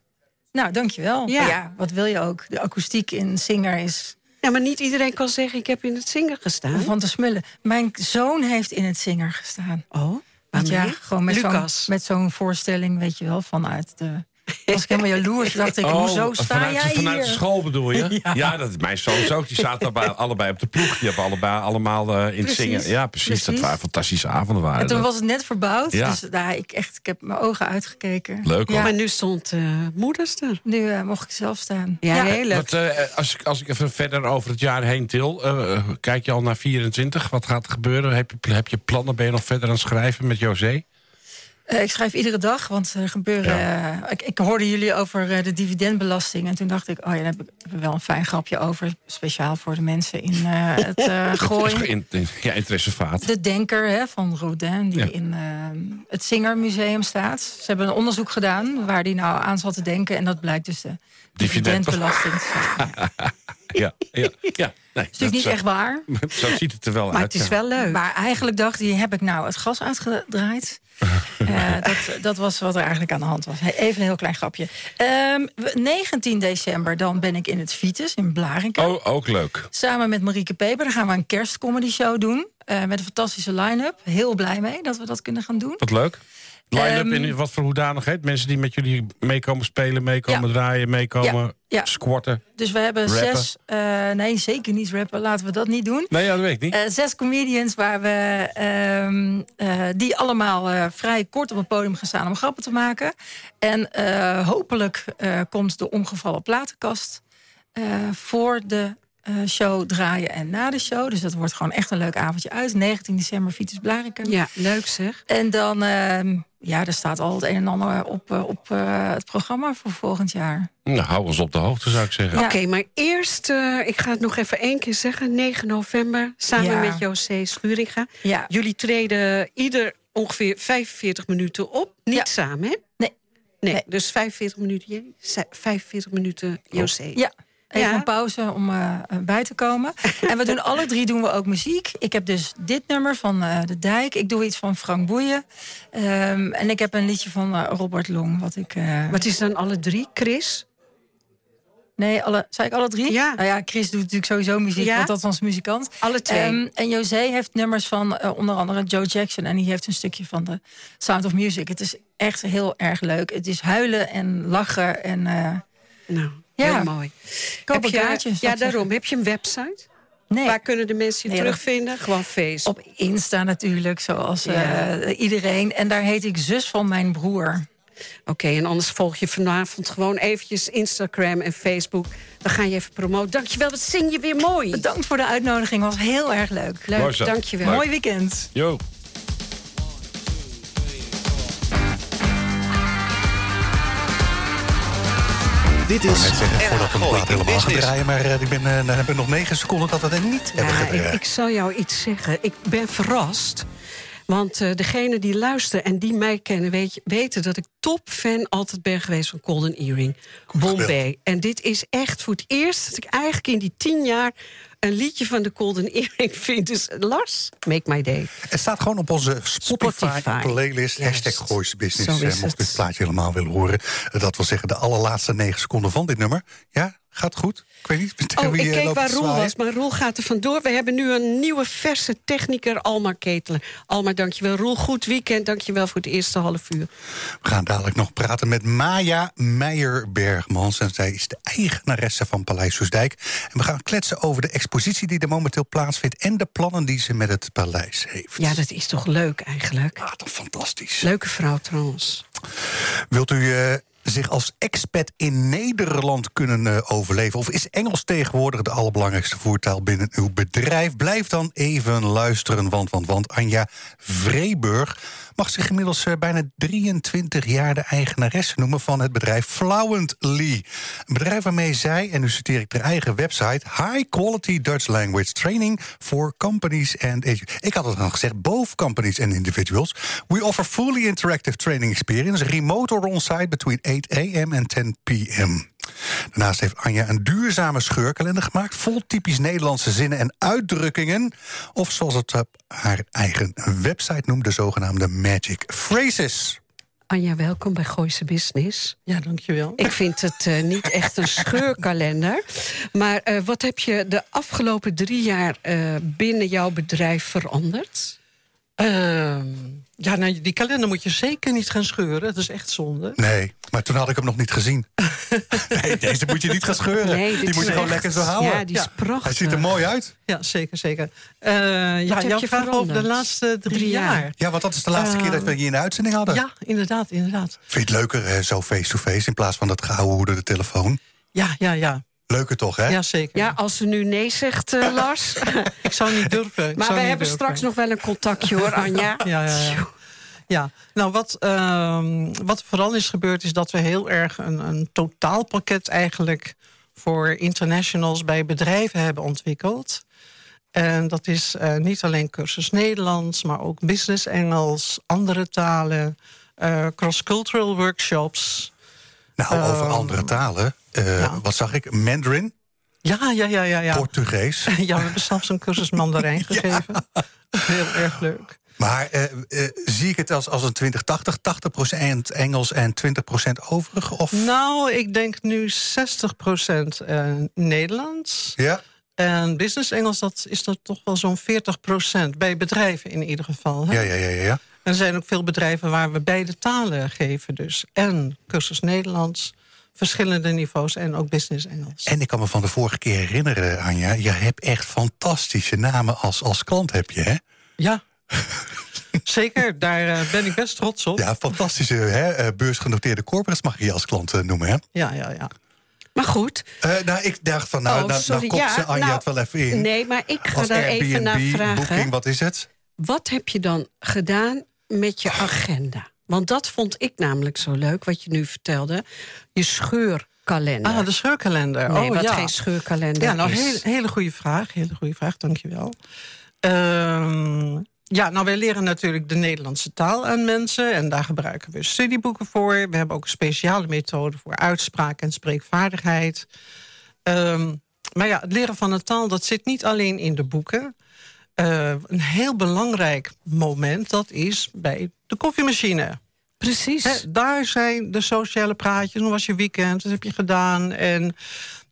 S5: nou dankjewel.
S2: Ja.
S5: Ja. ja, wat wil je ook? De akoestiek in Singer is
S2: Ja, maar niet iedereen kan zeggen, ik heb in het zingen gestaan.
S5: van te smullen. Mijn zoon heeft in het Singer gestaan.
S2: Oh,
S5: Want ja,
S2: waarmee?
S5: gewoon met zo'n,
S2: Lucas.
S5: met zo'n voorstelling, weet je wel, vanuit de... Was ik helemaal jaloers, dacht
S4: <laughs>
S5: ik, hoezo sta
S4: Oh, vanuit,
S5: jij
S4: vanuit
S5: hier?
S4: de school
S5: <laughs>
S4: bedoel je? Ja, dat is mijn zoon ook. Die zaten allebei, allebei op de ploeg. Die hebben allebei allemaal eh, in het
S5: Precies,
S4: zingen. Ja, precies, Dat
S5: precies.
S4: waren fantastische avonden. Waren
S5: En toen
S4: dat.
S5: was het net verbouwd,
S4: Ja.
S5: dus nou, ik, echt, ik heb mijn ogen uitgekeken.
S4: Leuk, hoor.
S5: Ja.
S2: Maar nu stond eh, moeders er.
S5: Nu eh, mocht ik zelf staan.
S2: Ja,
S5: Ja.
S2: heel leuk.
S4: Wat, eh, als, ik, als ik even verder over het jaar heen til, eh, eh, kijk je al naar 24? Wat gaat er gebeuren? Heb je, heb je plannen? Ben je nog verder aan het schrijven met José?
S5: Eh, ik schrijf iedere dag, want er gebeuren. eh, ik, ik hoorde jullie over eh, de dividendbelasting. En toen dacht ik, oh ja, daar heb ik- hebben we wel een fijn grapje over. Speciaal voor de mensen in eh, het eh gooien.
S4: In, in- ja, interessevaat.
S5: De denker hè, van Rodin, die
S4: Ja.
S5: in eh, het Singermuseum staat. Ze hebben een onderzoek gedaan waar die nou aan zat te denken. En dat blijkt dus de dividendbelasting te zijn. Ja. Het
S4: Ja, ja, ja. Nee,
S5: is natuurlijk niet echt waar.
S4: echt... <laughs> Zo ziet het er wel
S2: Maar het
S4: uit.
S2: is
S4: ja.
S2: wel leuk.
S5: Maar eigenlijk dacht hij, heb ik nou het gas
S4: <laughs>
S5: uitgedraaid? Eh, dat, dat was wat er eigenlijk aan de hand was. Hey, Even een heel klein grapje. Ehm, we- 19 december dan ben ik in het Vitus in Blariken.
S4: Oh, ook leuk.
S5: Samen met Marieke Peper. Dan gaan we een kerstcomedy show doen. eh, met een fantastische line-up. Heel blij mee dat we dat kunnen gaan doen.
S4: Wat leuk. Line-up
S5: Ehm,
S4: in wat voor hoedanigheid? Mensen die met jullie meekomen spelen, meekomen
S5: Ja.
S4: draaien, meekomen
S5: Ja, ja.
S4: squatten.
S5: Dus we hebben
S4: Rappen.
S5: zes... eh, nee, zeker niet rappen. Laten we dat niet doen.
S4: Nee, ja, dat weet ik niet.
S5: Eh, zes comedians waar we, ehm, eh, die allemaal eh, vrij kort op het podium gaan staan om grappen te maken. En eh, hopelijk eh, komt de omgevallen platenkast eh, voor de eh, show draaien en na de show. Dus dat wordt gewoon echt een leuk avondje uit. 19 december, Vitus Blariken.
S2: Ja, leuk zeg.
S5: En dan, ehm, ja, er staat al het een en ander op, eh, op eh, het programma voor volgend jaar.
S4: Nou, hou ons op de hoogte, zou ik zeggen.
S5: Ja.
S2: Oké, maar eerst, eh, ik ga het nog even één keer zeggen. 9 november, samen
S5: Ja.
S2: met José Schuringa.
S5: Ja.
S2: Jullie treden ieder ongeveer 45 minuten op. Niet
S5: Ja.
S2: samen, hè?
S5: Nee.
S2: Nee,
S5: Nee.
S2: dus 45 minuten, jij- ze- 45 minuten José.
S5: Ja. Even
S2: Ja.
S5: een pauze om eh, eh, bij te komen. En we doen alle drie doen we ook muziek. Ik heb dus dit nummer van eh, De Dijk. Ik doe iets van Frank Boeien. Ehm, en ik heb een liedje van eh, Robert Long. Wat ik, eh,
S2: Wat is dan alle drie, Chris?
S5: nee, alle, zei ik alle drie?
S2: Ja.
S5: Nou ja, Chris doet natuurlijk sowieso muziek.
S2: Ja.
S5: Want dat was muzikant.
S2: Alle twee.
S5: Ehm, en José heeft nummers van eh, onder andere Joe Jackson. En die heeft een stukje van de Sound of Music. Het is echt heel erg leuk. Het is huilen en lachen. En eh,
S2: Nou,
S5: Ja.
S2: heel mooi.
S5: Koop een
S2: je,
S5: kaartje, zou ik
S2: Ja,
S5: zeggen.
S2: daarom. Heb je een website?
S5: nee.
S2: Waar kunnen de mensen je
S5: Nee, dat-
S2: terugvinden? Gewoon Facebook.
S5: Op Insta natuurlijk, zoals
S2: Ja.
S5: eh, iedereen. En daar heet ik zus van mijn broer.
S2: Oké, en anders volg je vanavond gewoon eventjes Instagram en Facebook. Dan ga je even promoten. Dankjewel, wat zing je weer mooi.
S5: Bedankt voor de uitnodiging, was heel erg leuk.
S2: Leuk,
S4: Mooi zo.
S2: dankjewel.
S4: Leuk.
S5: Mooi weekend.
S4: Yo.
S1: Dit is
S3: Net zeggen, voordat we de
S1: Gooi
S3: plaat
S1: in
S3: helemaal gaan
S1: Business.
S3: draaien. Maar eh, ik ben, eh, dan hebben we nog negen seconden dat we het niet hebben
S2: Ja, ik,
S3: gedraaid.
S2: ik zal jou iets zeggen. Ik ben verrast. Want eh, degene die luisteren en die mij kennen... Weet, je- weten dat ik topfan altijd ben geweest van Golden Earring. Bombay. En dit is echt voor het eerst dat ik eigenlijk in die tien jaar... een liedje van de Golden Earring <laughs> vind. Dus Lars, make my day.
S3: Het staat gewoon op onze Spotify,
S2: Spotify.
S3: playlist.
S2: Juist.
S3: Hashtag Goois Business.
S2: Zo is
S3: eh, mocht
S2: het.
S3: dit plaatje helemaal willen horen. Eh, Dat wil zeggen de allerlaatste negen seconden van dit nummer. Ja, gaat goed. Ik weet niet <laughs> tegen
S2: Oh,
S3: wie
S2: ik
S3: eh,
S2: keek
S3: loopt
S2: waar
S3: te
S2: Roel
S3: zwaaien.
S2: was, maar Roel gaat er vandoor. We hebben nu een nieuwe verse techniker, Alma Ketelen. Alma, dankjewel. Roel, goed weekend. Dankjewel voor het eerste half uur.
S3: We gaan dadelijk nog praten met Maya Meijer-Bergmans. En zij is de eigenaresse van Paleis Soesdijk. En we gaan kletsen over de expositie die er momenteel plaatsvindt... en de plannen die ze met het paleis heeft.
S2: Ja, dat is toch leuk eigenlijk?
S3: Ah, toch fantastisch.
S2: Leuke vrouw trouwens.
S3: Wilt u eh, zich als expat in Nederland kunnen eh, overleven? Of is Engels tegenwoordig de allerbelangrijkste voertaal binnen uw bedrijf? Blijf dan even luisteren, want, want, want Anja Vreeburg mag zich inmiddels eh, bijna 23 jaar de eigenaresse noemen van het bedrijf Fluently. Een bedrijf waarmee zij, en nu citeer ik haar eigen website, high quality Dutch language training for companies and ik had het al gezegd, both companies and individuals. We offer fully interactive training experience, remote or on-site between 8 a.m. en 10 p.m. Daarnaast heeft Anja een duurzame scheurkalender gemaakt... vol typisch Nederlandse zinnen en uitdrukkingen. Of zoals het op haar eigen website noemt... de zogenaamde magic phrases.
S2: Anja, welkom bij Gooise Business.
S6: Ja, dankjewel.
S2: Ik vind het eh, niet echt een scheurkalender. Maar eh, wat heb je de afgelopen drie jaar eh, binnen jouw bedrijf veranderd?
S6: Ehm, ja, nou, die kalender moet je zeker niet gaan scheuren. Dat is echt zonde.
S3: Nee, maar toen had ik hem nog niet
S2: <laughs>
S3: gezien. nee, deze moet je niet gaan scheuren.
S2: Nee, dit
S3: die moet
S2: is
S3: je gewoon
S2: echt-
S3: lekker zo houden.
S2: Ja, die is
S6: Ja.
S2: prachtig.
S3: Hij ziet er mooi uit.
S6: Ja, zeker, zeker. Eh, ja,
S2: heb
S6: jouw
S2: je
S6: vraag over de
S2: veranderd?
S6: laatste drie,
S2: Drie jaar.
S6: jaar.
S3: Ja, want dat is de laatste
S6: Eh,
S3: keer dat we hier in de uitzending hadden.
S6: Ja, inderdaad, inderdaad.
S3: Vind je het leuker eh, zo face-to-face in plaats van dat gehouden door de telefoon?
S6: Ja, ja, ja.
S3: Leuker toch, hè?
S6: Ja, zeker.
S2: Ja, als ze nu nee zegt, eh, Lars.
S6: Ik zou niet durven. Ik
S2: maar
S6: zou
S2: we
S6: niet durven.
S2: hebben straks nog wel een contactje
S6: <laughs>
S2: hoor, Anja.
S6: Ja, ja, ja. ja. nou wat, ehm, wat vooral is gebeurd is dat we heel erg een, een totaalpakket eigenlijk voor internationals bij bedrijven hebben ontwikkeld. En dat is eh, niet alleen cursus Nederlands, maar ook business Engels, andere talen, eh, cross-cultural workshops.
S3: Nou, over andere talen. eh,
S6: Ehm, ja.
S3: Wat zag ik? Mandarin,
S6: Ja, ja, ja, ja, ja.
S3: Portugees.
S6: <laughs> Ja, we hebben zelfs een cursus Mandarijn gegeven. Heel erg leuk.
S3: Maar eh, eh, zie ik het als, als een 20-80? 80% Engels en 20% overig? Of?
S6: Nou, ik denk nu 60% eh, Nederlands.
S3: Ja?
S6: En business Engels, dat is dat toch wel zo'n 40 Bij bedrijven in ieder geval. Hè?
S3: Ja, ja, ja, ja, ja.
S6: En er zijn ook veel bedrijven waar we beide talen geven. Dus en cursus Nederlands, verschillende niveaus en ook business Engels.
S3: En ik kan me van de vorige keer herinneren, Anja. Je hebt echt fantastische namen als, als klant, heb je, hè?
S6: Ja, zeker. Daar eh, ben ik best trots op.
S3: Ja, fantastische hè? eh, beursgenoteerde corporates mag je je als klant eh, noemen, hè?
S6: ja, ja. ja.
S2: Maar goed.
S3: Eh, nou, ik dacht van, nou,
S2: oh,
S3: nou, nou
S2: sorry.
S3: komt
S2: ja,
S3: ze Anja
S2: nou,
S3: het wel even in.
S2: Nee, maar ik ga
S3: als
S2: daar
S3: Airbnb,
S2: even naar vragen.
S3: Booking, wat is het?
S2: Wat heb je dan gedaan met je agenda? Want dat vond ik namelijk zo leuk, wat je nu vertelde. Je scheurkalender.
S6: Ah, de scheurkalender.
S2: nee,
S6: oh,
S2: wat
S6: ja.
S2: geen scheurkalender
S6: Ja, nou,
S2: is.
S6: hele, hele goede vraag. Hele goede vraag, dankjewel. Ehm Ja, nou, wij leren natuurlijk de Nederlandse taal aan mensen. En daar gebruiken we studieboeken voor. We hebben ook een speciale methode voor uitspraak en spreekvaardigheid. Um, maar ja, het leren van een taal, dat zit niet alleen in de boeken. Uh, een heel belangrijk moment, dat is bij de koffiemachine.
S2: Precies.
S6: Hè, daar zijn de sociale praatjes. Hoe was je weekend? Wat heb je gedaan? En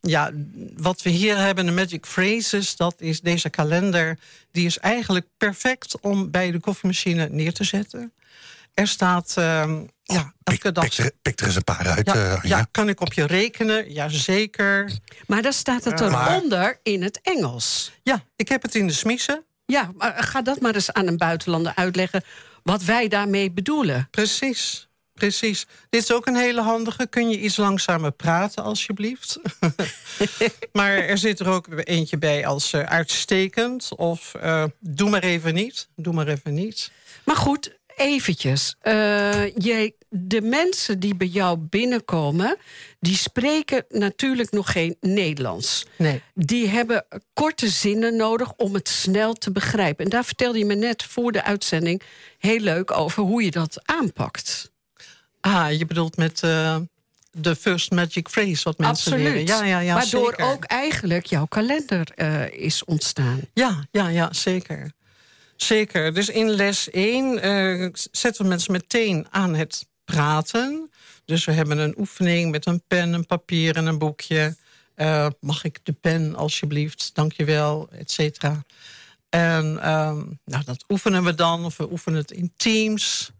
S6: ja, wat we hier hebben, de Magic Phrases, dat is deze kalender. Die is eigenlijk perfect om bij de koffiemachine neer te zetten. Er staat, um, ja, elke dag...
S3: Pik, pik er eens een paar uit,
S6: ja,
S3: uh,
S6: ja, kan ik op je rekenen? Jazeker.
S2: Maar daar staat het eronder
S3: Maar-
S2: in het Engels.
S6: Ja, ik heb het in de smissen.
S2: Ja, maar ga dat maar eens aan een buitenlander uitleggen wat wij daarmee bedoelen.
S6: Precies, precies. Dit is ook een hele handige. Kun je iets langzamer praten, alsjeblieft? <laughs> maar er zit er ook eentje bij als eh, uitstekend. Of eh, doe maar even niet. Doe maar even niet.
S2: Maar goed, eventjes. Eh, jij, de mensen die bij jou binnenkomen, die spreken natuurlijk nog geen Nederlands.
S6: Nee.
S2: Die hebben korte zinnen nodig om het snel te begrijpen. En daar vertelde je me net voor de uitzending heel leuk over hoe je dat aanpakt.
S6: Ah, je bedoelt met eh, de first magic phrase wat mensen leren.
S2: Absoluut.
S6: Ja, ja, ja,
S2: Waardoor
S6: zeker.
S2: ook eigenlijk jouw kalender eh, is ontstaan.
S6: Ja, ja, ja, zeker. Zeker. Dus in les 1 zetten we mensen meteen aan het praten. Dus we hebben een oefening met een pen, een papier en een boekje. Eh, mag ik de pen, alsjeblieft? Dankjewel, et cetera. En ehm, nou, dat oefenen we dan, of we oefenen het in teams.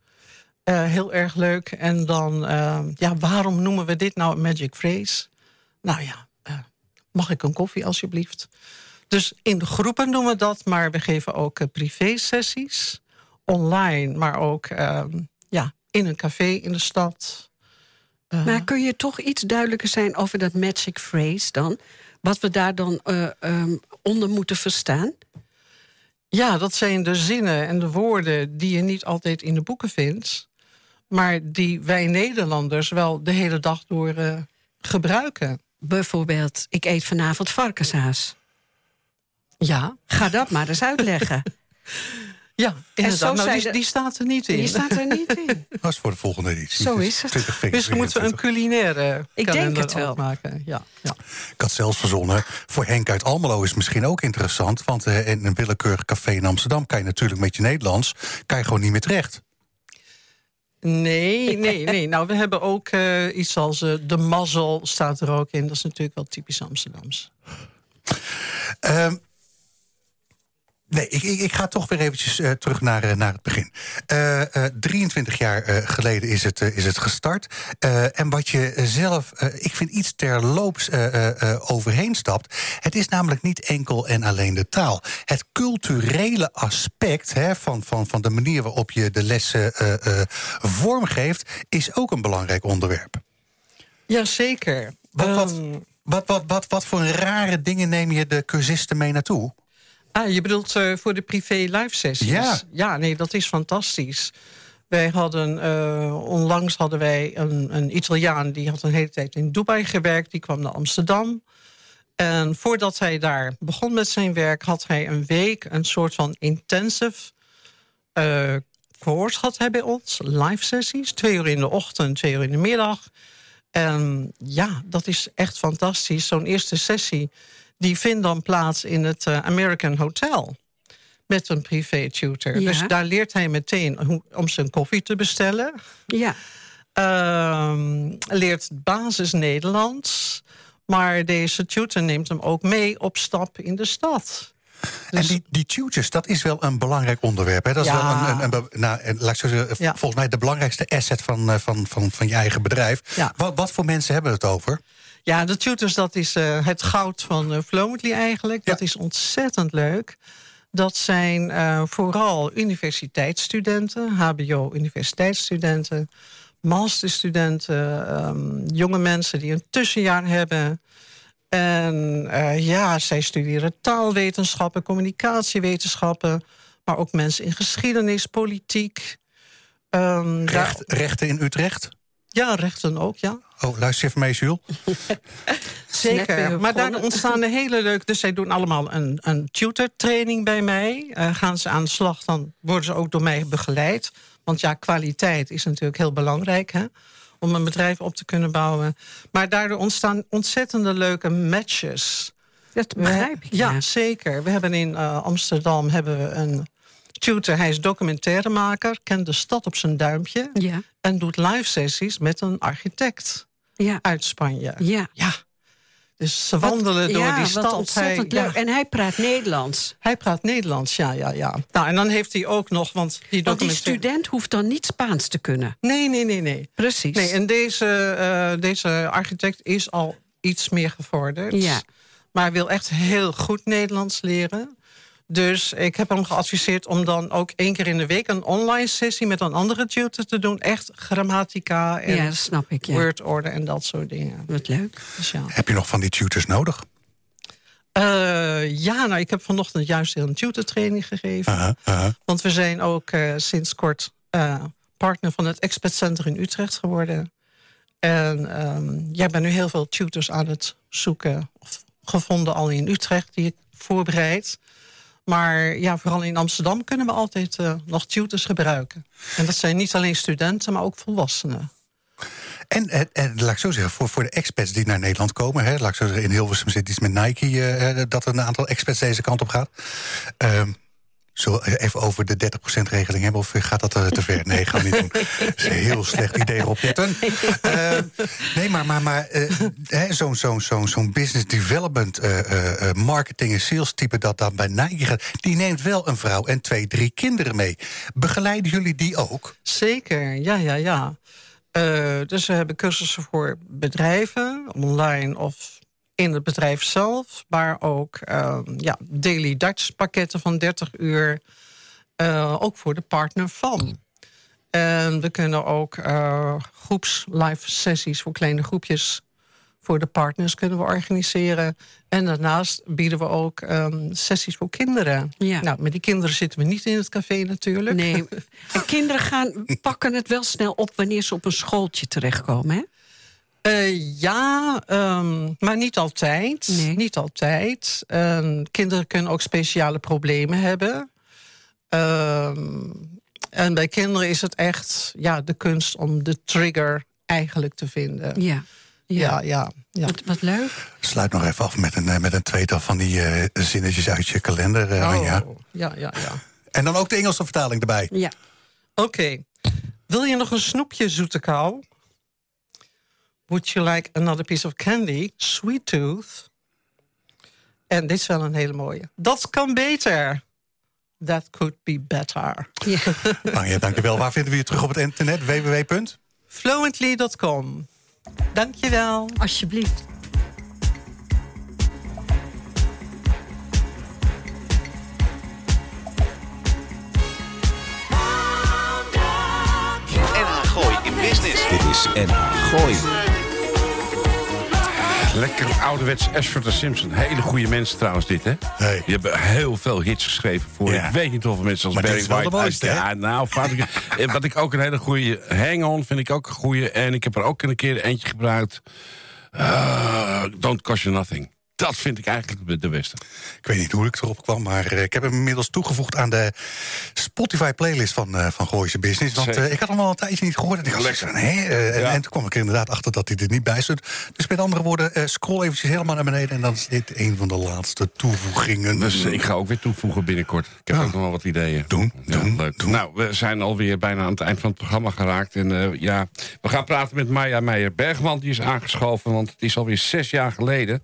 S6: Eh, heel erg leuk. En dan, ehm, ja, waarom noemen we dit nou een magic phrase? Nou ja, eh, mag ik een koffie, alsjeblieft? Dus in de groepen doen we dat, maar we geven ook eh, privé-sessies. Online, maar ook ehm, ja, in een café in de stad.
S2: Maar kun je toch iets duidelijker zijn over dat magic phrase dan? Wat we daar dan eh, ehm, onder moeten verstaan?
S6: Ja, dat zijn de zinnen en de woorden die je niet altijd in de boeken vindt. Maar die wij Nederlanders wel de hele dag door eh, gebruiken.
S2: Bijvoorbeeld, ik eet vanavond varkenshaas.
S6: Ja,
S2: Ga dat maar eens
S6: <laughs>
S2: uitleggen.
S6: ja inderdaad. Nou,
S2: zijn
S6: die,
S2: de-
S6: die staat er niet in.
S2: Je staat er niet in.
S3: Dat is voor de volgende editie.
S2: Zo
S3: Dus
S2: is het.
S3: 20 vingers
S6: Misschien moeten we een
S3: 23.
S6: culinaire
S2: denk
S6: kalender
S2: het wel.
S6: ook maken. Ja, ja.
S3: Ik had zelfs verzonnen. Voor Henk uit Almelo is het misschien ook interessant. Want eh, in een willekeurig café in Amsterdam kan je natuurlijk met je Nederlands. kan je gewoon niet meer terecht.
S6: Nee, nee, nee. Nou, we hebben ook eh, iets als eh, de mazzel staat er ook in. Dat is natuurlijk wel typisch Amsterdams.
S3: Ehm, nee, ik, ik, ik ga toch weer eventjes eh, terug naar, eh, naar het begin. Eh, eh, 23 jaar eh, geleden is het, eh, is het gestart. Eh, en wat je zelf, eh, ik vind, iets terloops eh, eh, eh, overheen stapt. Het is namelijk niet enkel en alleen de taal. Het culturele aspect hè, van, van, van de manier waarop je de lessen eh, eh, vormgeeft... is ook een belangrijk onderwerp.
S6: Jazeker.
S3: Wat, wat,
S6: Ehm,
S3: wat, wat, wat, wat voor rare dingen neem je de cursisten mee naartoe?
S6: Ah, je bedoelt eh, voor de privé live sessies?
S3: Ja.
S6: Ja, nee, dat is fantastisch. Wij hadden, eh, onlangs hadden wij een, een Italiaan... die had een hele tijd in Dubai gewerkt. Die kwam naar Amsterdam. En voordat hij daar begon met zijn werk... had hij een week een soort van intensive eh course had hij bij ons. Live sessies, twee uur in de ochtend, twee uur in de middag. En ja, dat is echt fantastisch. Zo'n eerste sessie, die vindt dan plaats in het eh, American Hotel. Met een privé tutor.
S2: Ja.
S6: Dus daar leert hij meteen hoe, om zijn koffie te bestellen.
S2: Ja,
S6: Ehm, leert basis Nederlands. Maar deze tutor neemt hem ook mee op stap in de stad.
S3: En die, die tutors, dat is wel een belangrijk onderwerp. Hè? Dat is
S6: Dus- Ja.
S3: wel een, een, een be- nou, en laat ik zo zeggen, v-
S6: Ja.
S3: volgens mij de belangrijkste asset van, eh, van, van, van je eigen bedrijf.
S6: Ja.
S3: Wat, wat voor mensen hebben het over?
S6: Ja, de tutors, dat is eh, het goud van eh Flowmently eigenlijk. Dat
S3: Ja.
S6: is ontzettend leuk. Dat zijn eh, vooral universiteitsstudenten, HBO-universiteitsstudenten, masterstudenten, ehm, jonge mensen die een tussenjaar hebben. En eh, ja, zij studeren taalwetenschappen, communicatiewetenschappen, maar ook mensen in geschiedenis, politiek. Ehm, daar-
S3: Recht, rechten in Utrecht?
S6: Ja, rechten ook, ja.
S3: Oh, luister even mee, Jules.
S6: Zeker. Maar daar ontstaan de hele leuke... Dus zij doen allemaal een, een tutortraining bij mij. Uh, gaan ze aan de slag, dan worden ze ook door mij begeleid. Want ja, kwaliteit is natuurlijk heel belangrijk, hè? Om een bedrijf op te kunnen bouwen. Maar daardoor ontstaan ontzettende leuke matches.
S2: Dat begrijp ik.
S6: Ja, ja zeker. We hebben in uh, Amsterdam hebben we een tutor. Hij is documentairemaker, kent de stad op zijn duimpje.
S2: Ja.
S6: En doet live sessies met een architect
S2: Ja.
S6: uit Spanje.
S2: Ja.
S6: Ja. Dus ze wandelen
S2: Wat-
S6: door
S2: ja,
S6: die
S2: wat
S6: stad. Hij,
S2: ontzettend
S6: ja,
S2: leuk. En hij praat Nederlands.
S6: hij praat Nederlands, ja, ja, ja. Nou, en dan heeft hij ook nog, want die
S2: Want die
S6: documentaire-
S2: student hoeft dan niet Spaans te kunnen.
S6: Nee, nee, nee, nee.
S2: Precies.
S6: Nee, en deze, eh, deze architect is al iets meer gevorderd.
S2: Ja.
S6: Maar wil echt heel goed Nederlands leren. Dus ik heb hem geadviseerd om dan ook één keer in de week... een online sessie met een andere tutor te doen. Echt grammatica en
S2: ja, dat snap ik. Ja.
S6: wordorde en dat soort dingen.
S2: Wat leuk.
S6: Dus ja.
S3: Heb je nog van die tutors nodig?
S6: Eh, ja, nou, ik heb vanochtend juist heel een tutortraining gegeven.
S3: Uh-huh, uh-huh.
S6: Want we zijn ook eh, sinds kort eh, partner van het Expert Center in Utrecht geworden. En ehm, jij bent nu heel veel tutors aan het zoeken, of gevonden al in Utrecht, die ik voorbereid. Maar ja, vooral in Amsterdam kunnen we altijd eh, nog tutors gebruiken. En dat zijn niet alleen studenten, maar ook volwassenen.
S3: En, en, eh, en laat ik zo zeggen, voor, voor de expats die naar Nederland komen... Hè, laat ik zo zeggen, in Hilversum zit iets met Nike... eh, eh, dat er een aantal expats deze kant op gaat. Ehm zullen we even over de 30%-regeling hebben? Of gaat dat eh, te ver? Nee, gaan we niet doen. Dat is een heel slecht idee, Rob Jetten. Ehm, nee, maar, maar, maar eh, hè, zo'n zo'n zo'n zo'n business development... eh, eh, eh, marketing en sales type dat dan bij Nike gaat... die neemt wel een vrouw en twee, drie kinderen mee. Begeleiden jullie die ook?
S6: Zeker, ja, ja, ja. Eh, dus we hebben cursussen voor bedrijven, online of in het bedrijf zelf. Maar ook eh, ja, daily Dutch pakketten van 30 uur. eh, ook voor de partner van. En we kunnen ook eh, groeps live sessies voor kleine groepjes voor de partners kunnen we organiseren. En daarnaast bieden we ook ehm, sessies voor kinderen.
S2: Ja.
S6: Nou, met die kinderen zitten we niet in het café natuurlijk.
S2: Nee.
S6: <laughs>
S2: En kinderen gaan, pakken het wel snel op wanneer ze op een schooltje terechtkomen. Hè?
S6: Eh, ja, ehm, maar niet altijd.
S2: Nee.
S6: Niet altijd. Ehm, kinderen kunnen ook speciale problemen hebben. Ehm, en bij kinderen is het echt ja, de kunst om de trigger eigenlijk te vinden.
S2: Ja.
S6: Ja, ja, ja.
S2: Wat, wat leuk.
S3: Sluit nog even af met een, eh, met een tweetal van die eh, zinnetjes uit je kalender, eh,
S6: Oh,
S3: Anja.
S6: ja, ja, ja.
S3: En dan ook de Engelse
S4: <laughs>
S3: vertaling erbij.
S2: Ja.
S6: Oké. Wil je nog een snoepje, zoete kou? Would you like another piece of candy, sweet tooth? En dit is wel een hele mooie. Dat kan beter. That could be better.
S3: Anja, dankjewel. Waar vinden we je terug op het internet? www.
S6: Fluently.com. Dankjewel.
S2: Alsjeblieft.
S1: NH Gooi in Business. Dit is NH Gooi.
S4: Lekker ouderwets Ashford en Simpson. Hele goede mensen trouwens dit, hè?
S3: Hey.
S4: Die hebben heel veel hits geschreven voor...
S3: Ja.
S4: Ik weet niet hoeveel mensen als
S3: Maar dit
S4: Barry
S3: is wel de
S4: White...
S3: mooiste, hè?
S4: ja, nou, vaak- <laughs> eh, wat ik ook een hele goede... Hang-on vind ik ook een goede. En ik heb er ook een keer eentje gebruikt. Eh, don't cost you nothing. Dat vind ik eigenlijk de beste.
S3: Ik weet niet hoe ik erop kwam, maar eh, ik heb hem inmiddels toegevoegd aan de Spotify-playlist van, eh van Gooise Business. Want
S4: Zeker.
S3: eh, ik had hem al een tijdje niet gehoord. En, ik dacht, van, hè, eh, en,
S4: Ja.
S3: en toen kwam ik er inderdaad achter dat hij er niet bij stond. Dus met andere woorden, eh, scroll eventjes helemaal naar beneden. En dan is dit een van de laatste toevoegingen.
S4: Dus ik ga ook weer toevoegen binnenkort. Ik heb
S3: Ja.
S4: ook nog wel wat ideeën.
S3: Ah. Doen,
S4: Ja,
S3: doen,
S4: leuk.
S3: doen.
S4: Nou, we zijn alweer bijna aan het eind van het programma geraakt. En eh, ja, we gaan praten met Maya Meijer-Bergman. Die is aangeschoven, want het is alweer zes jaar geleden...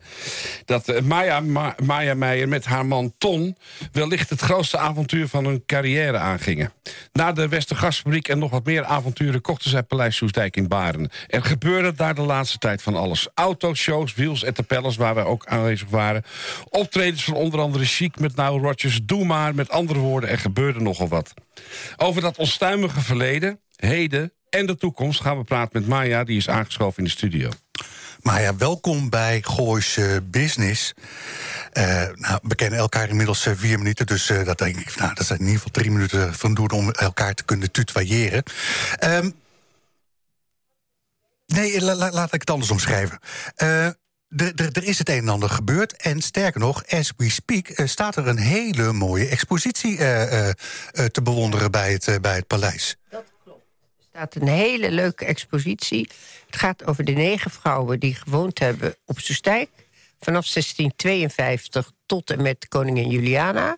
S4: dat eh, Maya, Ma- Maya Meijer met haar man Ton... wellicht het grootste avontuur van hun carrière aangingen. Na de Westergasfabriek en nog wat meer avonturen... kochten zij Paleis Soestdijk in Baren. Er gebeurde daar de laatste tijd van alles. Autoshows, wiels en tapelles waar wij ook aanwezig waren. Optredens van onder andere Chic met Nile Rodgers. Doe maar, met andere woorden, er gebeurde nogal wat. Over dat onstuimige verleden, heden en de toekomst... gaan we praten met Maya, die is aangeschoven in de studio.
S3: Maar ja, welkom bij Goois eh, Business. Eh, nou, we kennen elkaar inmiddels eh, vier minuten, dus eh, dat denk ik, nou, dat zijn in ieder geval drie minuten van doen om elkaar te kunnen tutoyeren. Ehm, Nee, la- la- laat ik het anders omschrijven. Eh, d- d- er is het een en ander gebeurd. En sterker nog, as we speak, eh, staat er een hele mooie expositie eh, eh, eh, te bewonderen bij het, eh, bij het paleis.
S7: staat een hele leuke expositie. Het gaat over de negen vrouwen die gewoond hebben op Soestijk. Vanaf 1652 tot en met koningin Juliana.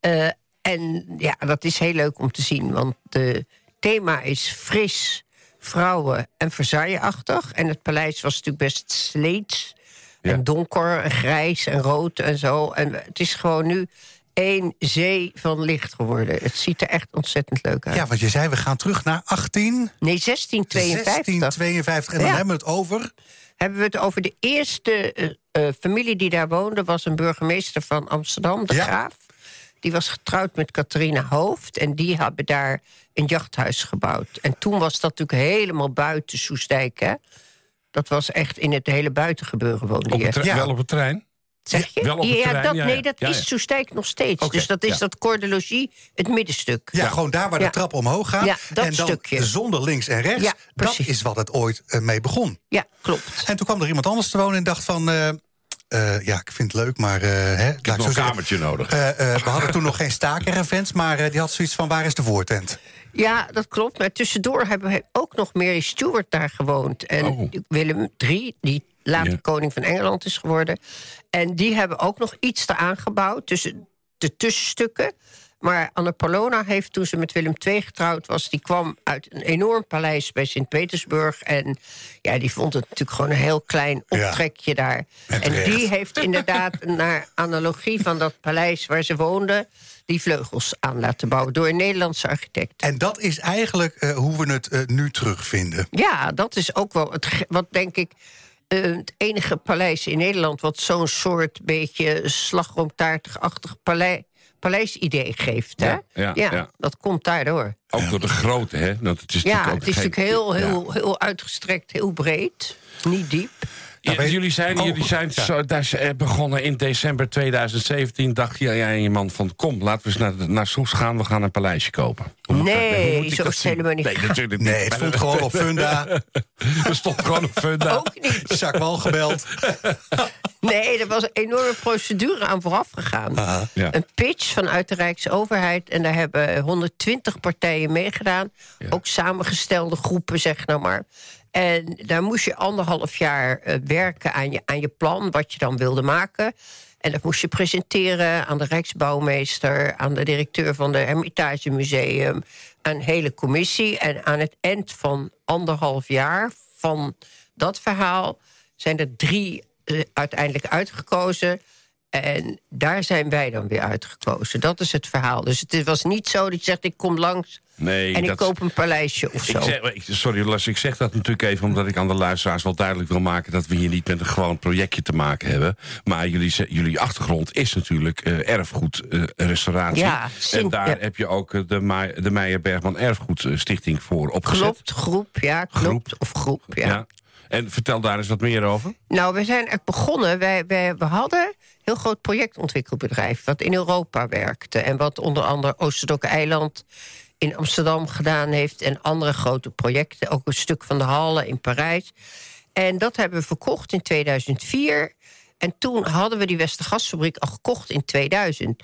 S7: Eh, en ja, dat is heel leuk om te zien. Want het thema is fris, vrouwen en Versailles-achtig. En het paleis was natuurlijk best sleets. En donker en grijs en rood en zo. En het is gewoon nu één zee van licht geworden. Het ziet er echt ontzettend leuk uit.
S3: Ja, want je zei, we gaan terug naar 18...
S7: Nee, 1652
S3: 1652. En dan
S7: Ja.
S3: hebben we het over...
S7: hebben we het over de eerste eh, eh, familie die daar woonde. was een burgemeester van Amsterdam, de
S3: Ja.
S7: Graaf. Die was getrouwd met Catharina Hoofd. En die hebben daar een jachthuis gebouwd. En toen was dat natuurlijk helemaal buiten Soestdijk, hè? Dat was echt in het hele buitengebeuren woonde
S4: Op het
S7: je.
S4: tre-
S3: Ja.
S4: Wel op het trein.
S7: Zeg je?
S4: wel op het
S7: ja,
S4: terrein,
S7: dat,
S4: ja, ja.
S7: nee, dat
S4: Ja, ja.
S7: is Soestdijk nog steeds.
S4: Oké,
S7: dus dat is
S4: ja.
S7: dat cordelogie, het middenstuk.
S3: Ja, gewoon daar waar
S7: Ja.
S3: de trap omhoog gaat.
S7: Ja, dat
S3: en dan
S7: stukje.
S3: zonder links en rechts.
S7: Ja,
S3: dat
S7: precies.
S3: is wat het ooit eh, mee begon.
S7: Ja, klopt.
S3: En toen kwam er iemand anders te wonen en dacht van... eh, eh, ja, ik vind het leuk, maar... eh, hè, laat ik
S4: Ik heb
S3: zo
S4: nog een
S3: zeggen.
S4: kamertje nodig.
S3: Eh, eh, we hadden toen nog geen stakeravents, maar eh, die had zoiets van... waar is de voortent?
S7: Ja, dat klopt. Maar tussendoor hebben we ook nog Mary Stuart daar gewoond. En
S4: Oh.
S7: Willem III, die later
S4: Ja.
S7: koning van Engeland is geworden. En die hebben ook nog iets eraan gebouwd tussen de tussenstukken. Maar Anna Paulowna heeft, toen ze met Willem II getrouwd was... die kwam uit een enorm paleis bij Sint-Petersburg. En ja, die vond het natuurlijk gewoon een heel klein
S3: Ja.
S7: optrekje daar.
S3: En
S7: en
S3: terecht.
S7: die heeft
S4: <laughs>
S7: inderdaad naar analogie van dat paleis waar ze woonde... die vleugels aan laten bouwen door een Nederlandse architect.
S3: En dat is eigenlijk eh, hoe we het eh,
S7: <laughs>
S3: nu terugvinden.
S7: Ja, dat is ook wel het, ge- wat denk ik. eh, het enige paleis in Nederland wat zo'n soort beetje slagroomtaartig-achtig palei- paleisidee geeft. Hè?
S4: Ja, ja, ja.
S7: dat komt daardoor.
S4: Ook door de grootte, hè? Want het is
S7: Ja,
S4: natuurlijk ook
S7: het is
S4: geen-
S7: natuurlijk heel,
S4: Ja.
S7: heel, heel uitgestrekt, heel breed, niet diep.
S4: Ja,
S3: weet-
S4: jullie zijn,
S3: Oh,
S4: jullie zijn
S3: ja.
S4: zo, daar, ze- eh, begonnen in december 2017. Dacht jij en je man van... kom, laten we eens naar, naar Soes gaan, we gaan een paleisje kopen. Hoe moet dat-
S7: Nee,
S4: hoe moet ik
S7: zo is
S4: dat
S7: het
S4: zien?
S7: helemaal niet
S4: Nee,
S7: gegaan.
S4: natuurlijk niet.
S3: Nee, het stond gewoon op Funda.
S4: <laughs> Er stond gewoon een funda.
S7: Ook niet.
S3: Jacques Wal gebeld.
S7: Nee, er was een enorme procedure aan vooraf gegaan.
S4: Ah. Ja.
S7: Een pitch vanuit de Rijksoverheid. En daar hebben 120 partijen meegedaan. Ook samengestelde groepen, zeg nou maar. En daar moest je anderhalf jaar eh, werken aan je, aan je plan, wat je dan wilde maken. En dat moest je presenteren aan de Rijksbouwmeester, aan de directeur van de Hermitage Museum, aan een hele commissie. En aan het eind van anderhalf jaar van dat verhaal zijn er drie eh, uiteindelijk uitgekozen. En daar zijn wij dan weer uitgekozen. Dat is het verhaal. Dus het was niet zo dat je zegt: ik kom langs
S4: Nee,
S7: en ik
S4: dat-
S7: koop een paleisje of zo.
S4: Ik zeg, ik- sorry, Lars, ik zeg dat natuurlijk even omdat ik aan de luisteraars wel duidelijk wil maken dat we hier niet met een gewoon projectje te maken hebben. Maar jullie, ze- jullie achtergrond is natuurlijk eh, erfgoed erfgoedrestauratie.
S7: Ja, zin-
S4: en daar
S7: ja.
S4: heb je ook eh, de, Ma- de Meijer Bergman Erfgoedstichting voor opgezet.
S7: Klopt, groep, ja, klopt. Of groep, ja.
S4: Ja. En vertel daar eens wat meer over.
S7: Nou, we zijn echt begonnen. Wij, wij, we hadden een heel groot projectontwikkelbedrijf... wat in Europa werkte. En wat onder andere Oosterdokke Eiland in Amsterdam gedaan heeft... en andere grote projecten. Ook een stuk van de Halle in Parijs. En dat hebben we verkocht in 2004. En toen hadden we die Westergasfabriek al gekocht in 2000.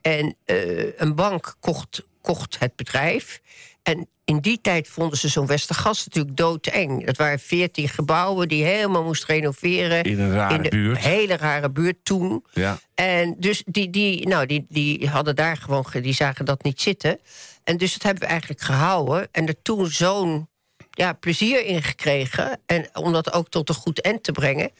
S7: En eh, een bank kocht, kocht het bedrijf. En in die tijd vonden ze zo'n Westergas natuurlijk doodeng. Dat waren veertien gebouwen die helemaal moest renoveren.
S4: In een rare
S7: de
S4: buurt.
S7: hele rare buurt toen.
S4: Ja.
S7: En dus die, die, nou, die, die hadden daar gewoon, ge- die zagen dat niet zitten. En dus dat hebben we eigenlijk gehouden. En er toen zo'n ja, plezier in gekregen. En om dat ook tot een goed eind te brengen.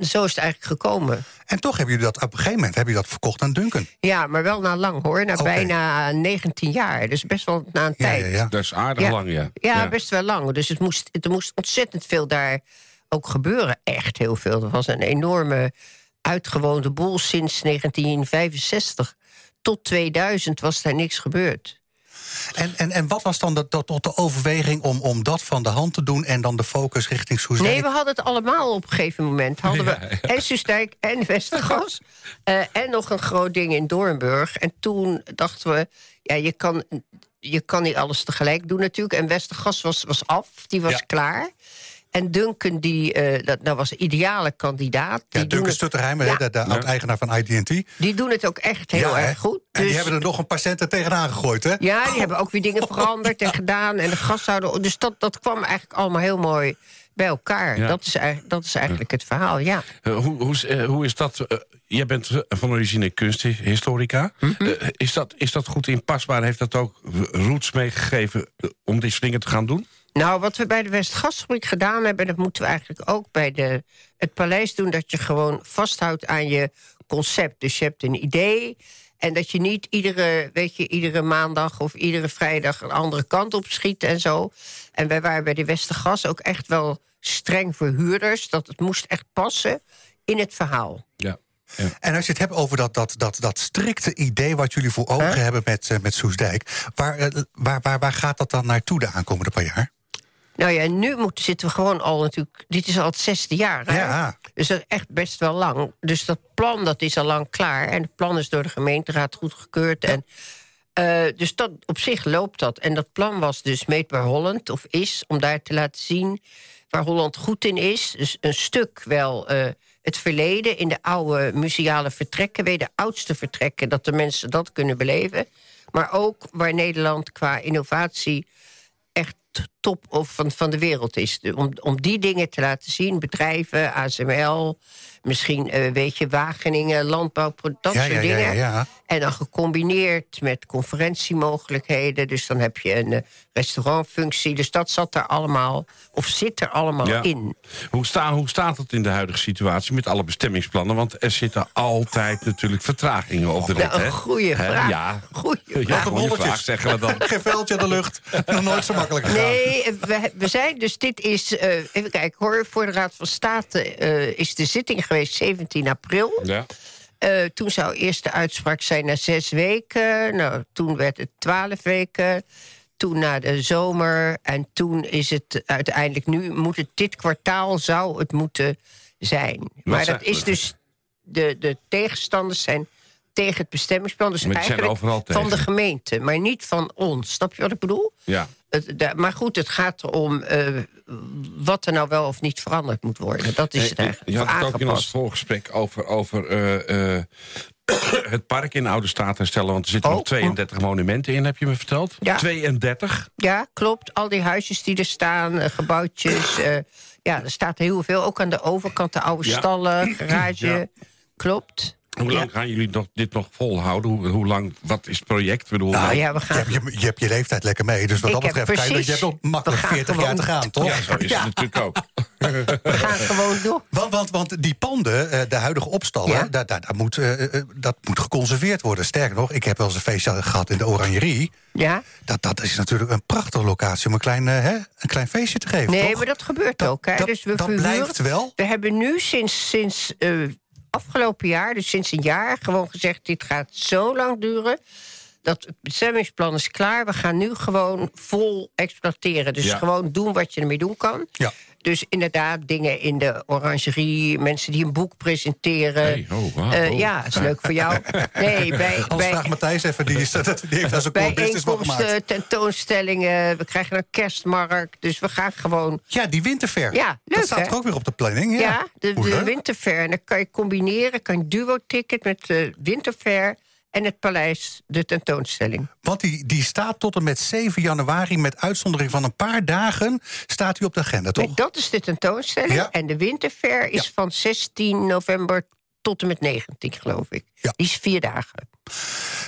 S7: Zo is het eigenlijk gekomen.
S3: En toch hebben jullie dat op een gegeven moment hebben jullie dat verkocht aan Duncan.
S7: Ja, maar wel na lang hoor. Na
S3: Oké.
S7: bijna 19 jaar. Dus best wel na een
S3: Ja,
S7: tijd.
S3: ja, ja.
S4: Dat is aardig lang, ja.
S7: Ja, best wel lang. Dus het moest, er moest ontzettend veel daar ook gebeuren. Echt heel veel. Er was een enorme uitgewoonde boel sinds 1965. Tot 2000 was daar niks gebeurd.
S3: En, en, en wat was dan dat, dat, de overweging om, om dat van de hand te doen... en dan de focus richting Soezijk?
S7: Nee, we hadden het allemaal op een gegeven moment. Hadden
S3: <laughs>
S7: we en Soestdijk en Westergas. eh, en nog een groot ding in Doornburg. En toen dachten we, ja, je kan, je kan niet alles tegelijk doen natuurlijk. En Westergas was, was af, die was klaar. En Duncan, die, uh, dat, dat was een ideale kandidaat.
S3: Ja, Duncan Stutterheimer, ja. de, de oud-eigenaar van IDT.
S7: Die doen het ook echt heel ja, erg goed.
S3: En dus... die hebben er nog een paar centen tegenaan gegooid, hè?
S7: Ja, die oh. hebben ook weer dingen veranderd en gedaan. En de gashouder. Dus dat, dat kwam eigenlijk allemaal heel mooi bij elkaar. Ja. Dat, is, dat is eigenlijk het verhaal, ja.
S4: Uh, hoe, hoe, is, uh, hoe is dat? Uh, jij bent van origine kunsthistorica. Mm
S7: Mhm.
S4: -hmm. is, dat, is dat goed inpasbaar? Heeft dat ook roots meegegeven eh, om die slingen te gaan doen?
S7: Nou, wat we bij de Westgasfabriek gedaan hebben... dat moeten we eigenlijk ook bij de, het paleis doen... dat je gewoon vasthoudt aan je concept. Dus je hebt een idee... En dat je niet iedere, weet je, iedere maandag of iedere vrijdag een andere kant op schiet en zo. En wij waren bij de Westergas ook echt wel streng voor huurders. Dat het moest echt passen in het verhaal.
S4: Ja.
S3: Ja. En als je het hebt over dat, dat, dat, dat strikte idee wat jullie voor ogen huh? hebben met, uh, met Soesdijk, waar, uh, waar, waar, waar gaat dat dan naartoe de aankomende paar jaar?
S7: Nou ja, nu moet, zitten we gewoon al natuurlijk. Dit is al het zesde jaar. Hè? Ja. Dus dat is echt best wel lang. Dus dat plan dat is al lang klaar. En het plan is door de gemeenteraad goedgekeurd. Ja. En, uh, dus dat, op zich loopt dat. En dat plan was dus Meetbaar Holland, of is, om daar te laten zien waar Holland goed in is. Dus een stuk wel uh, het verleden in de oude museale vertrekken, weer de oudste vertrekken, dat de mensen dat kunnen beleven. Maar ook waar Nederland qua innovatie echt top of van, van de wereld is. Om, om die dingen te laten zien, bedrijven, ASML, misschien uh, weet je, Wageningen, landbouw, dat ja, soort ja, dingen. Ja, en dan gecombineerd met conferentiemogelijkheden. Dus dan heb je een uh, restaurantfunctie. Dus dat zat er allemaal, of zit er allemaal in.
S4: Hoe, sta, hoe staat het in de huidige situatie met alle bestemmingsplannen? Want er zitten altijd <laughs> natuurlijk vertragingen op de rit.
S7: Nou, een goede vraag. He?
S4: Ja,
S7: goeie
S4: vraag. Goeie vraag zeggen we dan.
S7: <laughs>
S3: Geen veldje in de lucht. Nog nooit zo makkelijk
S7: gedaan. Nee, we, we, zijn dus, dit is, uh, even kijken hoor, voor de Raad van State uh, is de zitting geweest 17 april.
S4: Ja.
S7: Uh, toen zou eerst de uitspraak zijn na zes weken. Nou, toen werd het twaalf weken. Toen na de zomer. En toen is het uiteindelijk nu, moet het, dit kwartaal zou het moeten zijn. Wat maar zijn, dat is dus, de, de tegenstanders zijn tegen het bestemmingsplan. Dus eigenlijk van tegen. de gemeente, maar niet van ons. Snap je wat ik bedoel?
S4: Ja.
S7: Het, de, maar goed, het gaat erom uh, wat er nou wel of niet veranderd moet worden. Dat is het eigenlijk.
S4: Eh, Je had het ook in ons voorgesprek over, over uh, uh, het park in Oude Staat herstellen. Want er zitten oh, nog 32 oh. monumenten in, heb je me verteld.
S7: Ja.
S4: 32?
S7: Ja, klopt. Al die huisjes die er staan, eh, gebouwtjes. eh, ja, er staat heel veel. Ook aan de overkant, de oude ja. stallen, garage. Ja. Klopt.
S4: Hoe lang gaan jullie nog, dit nog volhouden? Hoe, hoe, lang, wat is het project?
S7: Bedoel, nou, ja, we gaan...
S3: je, hebt je, je, hebt je leeftijd lekker mee. Dus wat dat betreft, precies... je, je hebt nog makkelijk 40 gewoon... jaar te gaan, toch?
S4: Ja, zo is ja. het natuurlijk
S7: <laughs>
S4: ook.
S7: We gaan gewoon door.
S3: Want, want, want die panden, eh, de huidige opstallen, ja? daar, daar, daar moet, uh, dat moet geconserveerd worden. Sterker nog, ik heb wel eens een feestje gehad in de Oranjerie.
S7: Ja?
S3: Dat, dat is natuurlijk een prachtige locatie om een klein, uh, hè, een klein feestje te geven.
S7: Nee,
S3: toch?
S7: maar dat gebeurt dat, ook. Hè?
S3: Dat,
S7: dus we
S3: dat
S7: verhuren,
S3: blijft wel.
S7: We hebben nu sinds. sinds uh, afgelopen jaar, dus sinds een jaar, gewoon gezegd: dit gaat zo lang duren. Dat het bestemmingsplan is klaar. We gaan nu gewoon vol exploiteren. Dus ja. gewoon doen wat je ermee doen kan.
S4: Ja.
S7: Dus inderdaad, dingen in de orangerie, mensen die een boek presenteren.
S4: Hey, oh, wow,
S7: uh, oh. ja, is leuk voor jou. Nee, bij,
S3: bij, vraag Matthijs even, die, is, die heeft daar zo'n cool business van gemaakt.
S7: tentoonstellingen, we krijgen een kerstmarkt. Dus we gaan gewoon...
S3: Ja, die winterfair.
S7: Ja, leuk
S3: Dat staat
S7: hè?
S3: er ook weer op de planning. Ja,
S7: ja de, de winterfair. En dan kan je combineren, kan je duo-ticket met de winterfair en het paleis de tentoonstelling.
S3: Want die, die staat tot en met 7 januari, met uitzondering van een paar dagen, staat u op de agenda, toch? Nee,
S7: dat is de tentoonstelling. Ja. En de winterfair is ja. van 16 november tot en met 19, geloof ik. Ja. Die is vier dagen.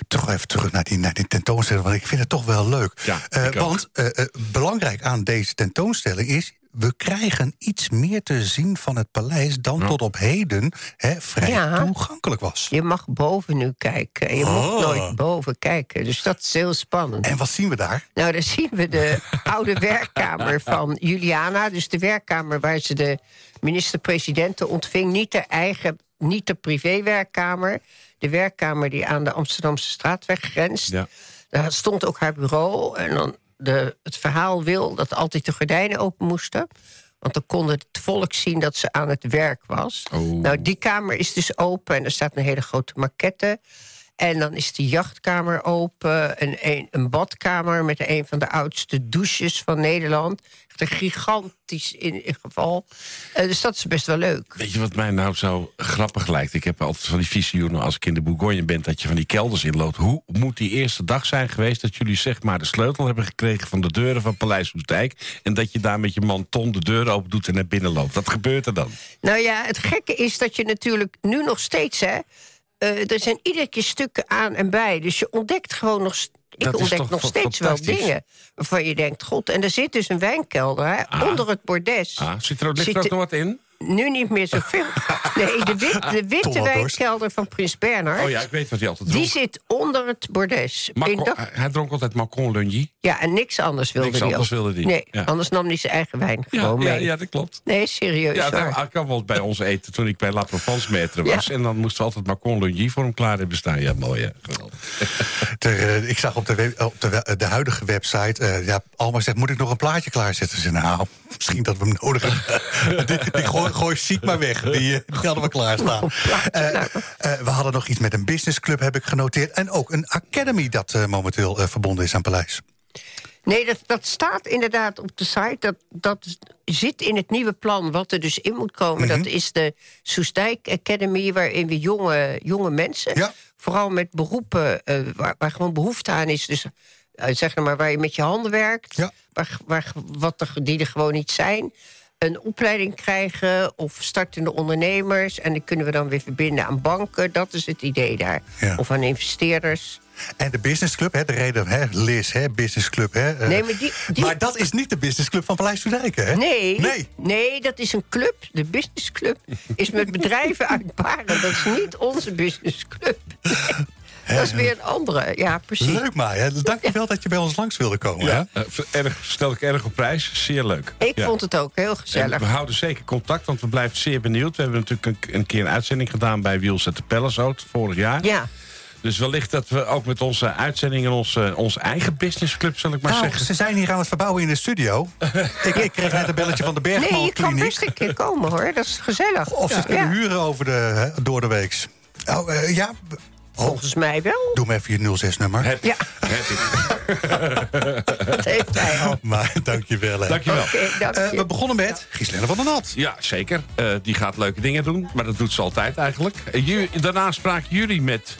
S3: Toch even terug naar die, naar die tentoonstelling, want ik vind het toch wel leuk.
S4: Ja,
S3: uh, want uh, uh, belangrijk aan deze tentoonstelling is... we krijgen iets meer te zien van het paleis... dan ja. tot op heden hè, vrij ja. toegankelijk was.
S7: Je mag boven nu kijken. Je oh. mag nooit boven kijken, dus dat is heel spannend.
S3: En wat zien we daar?
S7: Nou, daar zien we de oude werkkamer van Juliana. Dus de werkkamer waar ze de minister-presidenten ontving. Niet de eigen niet de privéwerkkamer. De werkkamer die aan de Amsterdamse straatweg grenst.
S4: Ja.
S7: Daar stond ook haar bureau. En dan de, het verhaal wil dat altijd de gordijnen open moesten. Want dan kon het volk zien dat ze aan het werk was.
S4: Oh.
S7: Nou, die kamer is dus open en er staat een hele grote maquette. En dan is de jachtkamer open, een, een, een badkamer met een van de oudste douches van Nederland. Echt een gigantisch in, in geval. Eh, dus dat is best wel leuk.
S4: Weet je wat mij nou zo grappig lijkt? Ik heb altijd van die visioenen nou, als ik in de Bourgogne ben... dat je van die kelders inloopt. Hoe moet die eerste dag zijn geweest... dat jullie zeg maar de sleutel hebben gekregen van de deuren van Paleis Hoesdijk... en dat je daar met je manton de deur open doet en naar binnen loopt? Wat gebeurt er dan?
S7: Nou ja, het gekke is dat je natuurlijk nu nog steeds... Hè, eh, er zijn iedere keer stukken aan en bij. Dus je ontdekt gewoon nog... st- Ik
S4: Dat is
S7: ontdek
S4: toch
S7: nog
S4: fa-
S7: steeds wel
S4: fantastisch?
S7: dingen waarvan je denkt... God, en er zit dus een wijnkelder hè,
S4: Ah.
S7: onder het bordes.
S4: Ah, zit er, ook- ligt
S7: Zit
S4: er ook
S7: er-
S4: nog wat in?
S7: Nu niet meer
S4: <laughs>
S7: zoveel. Nee, de, wit- de
S3: Toch
S7: witte
S3: wel dorst.
S7: wijnkelder van Prins Bernhard...
S4: Oh ja, ik weet wat hij altijd
S7: Die
S4: dronk.
S7: zit onder het bordes.
S4: Macron-
S7: Ik dacht-
S4: hij- hij dronk altijd Macron Lungy.
S7: ja, en niks anders wilde
S4: eh, Niks
S7: die
S4: anders
S7: ook.
S4: wilde die,
S7: Nee,
S4: ja.
S7: anders nam hij zijn eigen wijn
S4: Ja,
S7: gewoon
S4: ja,
S7: mee.
S4: ja, dat klopt.
S7: Nee, serieus
S4: Ja,
S7: waar.
S4: dat- hij kwam wel eens bij ons eten toen ik bij La Provence maître was.
S7: Ja.
S4: En dan moesten we altijd Macron Lungy voor hem klaar hebben staan. Ja, mooi hè. Geweldig.
S3: Ter, eh, ik zag op de, we- op de, we- eh, de huidige website. eh, ja, Alma zegt: Moet ik nog een plaatje klaarzetten? Ze zei, Nou, misschien dat we hem nodig hebben. <laughs> die die gooi, gooi ziek maar weg. Die, eh, die hadden we klaarstaan. Eh,
S7: nou.
S3: eh, we hadden nog iets met een businessclub, heb ik genoteerd. En ook een academy dat eh, momenteel eh, verbonden is aan Paleis.
S7: Nee, dat, dat staat inderdaad op de site. Dat, dat zit in het nieuwe plan wat er dus in moet komen.
S3: Mhm.
S7: Dat is de Soestdijk Academy, waarin we jonge, jonge mensen...
S3: Ja.
S7: vooral met beroepen eh, waar, waar gewoon behoefte aan is... Dus, eh, zeg nou maar waar je met je handen werkt,
S3: Ja.
S7: waar, waar, wat er, die er gewoon niet zijn... een opleiding krijgen of startende ondernemers... en die kunnen we dan weer verbinden aan banken. Dat is het idee daar.
S3: Ja.
S7: Of aan investeerders.
S3: En de businessclub, hè, de reden, hè, Liz, hè, businessclub. Hè, eh,
S7: Nee, maar die- die-
S3: maar dat is niet de businessclub van Paleis Soedijken, hè?
S7: Nee,
S3: Nee.
S7: nee, dat is een club. De businessclub is met bedrijven uit Baren. Dat is niet onze businessclub. Nee, dat is weer een andere. Ja, precies.
S3: Leuk, maar. hè. Dank je wel dat je bij ons langs wilde komen. hè.
S4: Ja, eh, ver- erg, stel ik erg op prijs. Zeer leuk.
S7: Ik
S4: Ja.
S7: vond het ook heel
S4: En
S7: gezellig.
S4: we houden zeker contact, want we blijven zeer benieuwd. We hebben natuurlijk een, een keer een uitzending gedaan bij Wheels at the Palace Hout vorig jaar.
S7: Ja,
S4: Dus wellicht dat we ook met onze uitzendingen, onze, onze eigen businessclub, zal ik maar
S3: Nou,
S4: zeggen.
S3: ze zijn hier aan het verbouwen in de
S7: <laughs>
S3: studio. ik, ik kreeg net een belletje van de
S7: nee,
S3: Bergman
S7: je kan best
S3: Kliniek.
S7: een keer komen hoor. Dat is gezellig.
S3: Of ze het
S7: ja.
S3: kunnen
S7: Ja,
S3: huren over de, hè, door de weeks. Oh, eh, ja, oh,
S7: Volgens mij wel.
S3: doe me even je 06-nummer.
S4: Heb
S7: Ja,
S4: Heb ik.
S7: <laughs> dat heeft hij al.
S3: <laughs> Maar dankjewel. hè.
S4: Dankjewel.
S7: Oké, dank
S3: Eh,
S7: je.
S3: we begonnen met Gislene van der Nat.
S4: Ja, zeker. Eh, die gaat leuke dingen doen, maar dat doet ze altijd eigenlijk. Eh, ju- daarna spraak jullie met...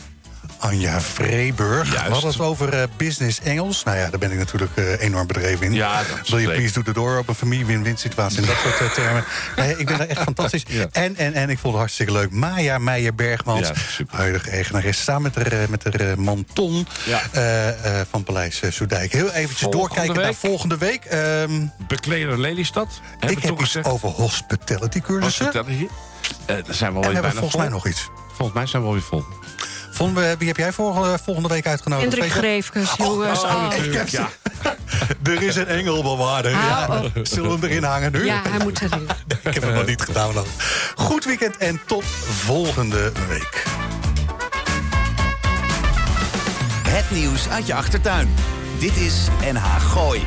S3: Anja Vreeburg.
S4: Juist.
S3: We hadden het over eh, business Engels. Nou ja, daar ben ik natuurlijk eh, enorm bedreven in.
S4: Ja, dat is
S3: Wil je
S4: zeker.
S3: please doe de door op een familie win-win situatie en dat soort eh, termen. Eh, ik ben daar echt
S4: <laughs>
S3: fantastisch. En, en, en ik vond het hartstikke leuk. Maya Meijer Bergmans,
S4: Ja, super.
S3: huidige eigenares, samen met haar, eh, met haar eh, man Ton
S4: Ja.
S3: eh, eh, van Paleis eh, Soedijk. Heel eventjes
S4: Volgende
S3: doorkijken
S4: week.
S3: naar volgende week. Ehm,
S4: Bekleder Lelystad. Hebben
S3: ik
S4: we
S3: heb
S4: toch
S3: iets
S4: gezegd.
S3: over hospitality
S4: Was
S3: cursussen.
S4: het dat hier? Eh, daar zijn we
S3: en
S4: alweer
S3: we hebben
S4: bijna
S3: volgens
S4: vol.
S3: mij nog iets.
S4: Volgens mij zijn we alweer vol.
S3: Vonden we, wie heb jij voor, eh, volgende week uitgenodigd?
S2: Hendrik
S3: Weet je?
S2: Greefkes, jongens.
S4: Oh, natuurlijk, ja.
S3: <laughs> Er is een engelbewaarder. Ja. Zullen we hem erin hangen nu?
S2: Ja, hij moet erin.
S3: <laughs> Ik heb hem nog niet gedownload. Goed weekend en tot volgende week.
S1: Het nieuws uit je achtertuin. Dit is NH Gooi.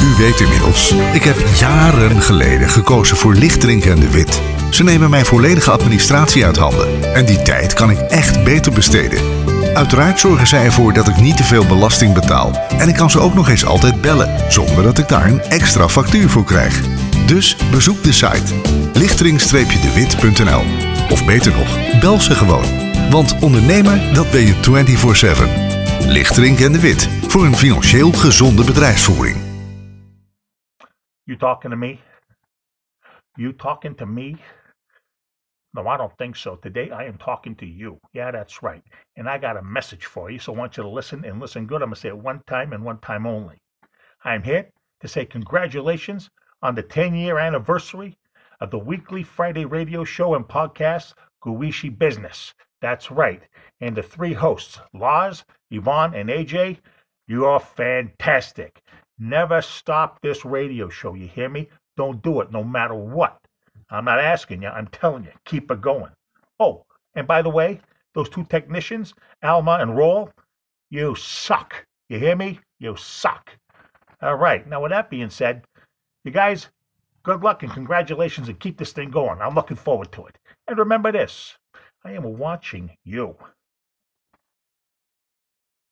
S8: U weet inmiddels, ik heb jaren geleden gekozen voor lichtdrinken en de wit. Ze nemen mijn volledige administratie uit handen. En die tijd kan ik echt beter besteden. Uiteraard zorgen zij ervoor dat ik niet te veel belasting betaal. En ik kan ze ook nog eens altijd bellen, zonder dat ik daar een extra factuur voor krijg. Dus bezoek de site lichtering-dewit.nl. Of beter nog, bel ze gewoon. Want ondernemer, dat ben je 24-7. Lichtering en de Wit. Voor een financieel gezonde bedrijfsvoering.
S9: You talking to me? You talking to me? No, I don't think so. Today I am talking to you. Yeah, that's right. And I got a message for you, so I want you to listen and listen good. I'm going to say it one time and one time only. I am here to say congratulations on the 10 year anniversary of the weekly Friday radio show and podcast, Guishi Business. That's right. And the three hosts, Lars, Yvonne, and AJ, you are fantastic. Never stop this radio show. You hear me? Don't do it no matter what. I'm not asking you, I'm telling you, keep it going. Oh, and by the way, those two technicians, Alma and Roll, you suck. You hear me? You suck. All right. Now, with that being said, you guys, good luck and congratulations and keep this thing going. I'm looking forward to it. And remember this I am watching you.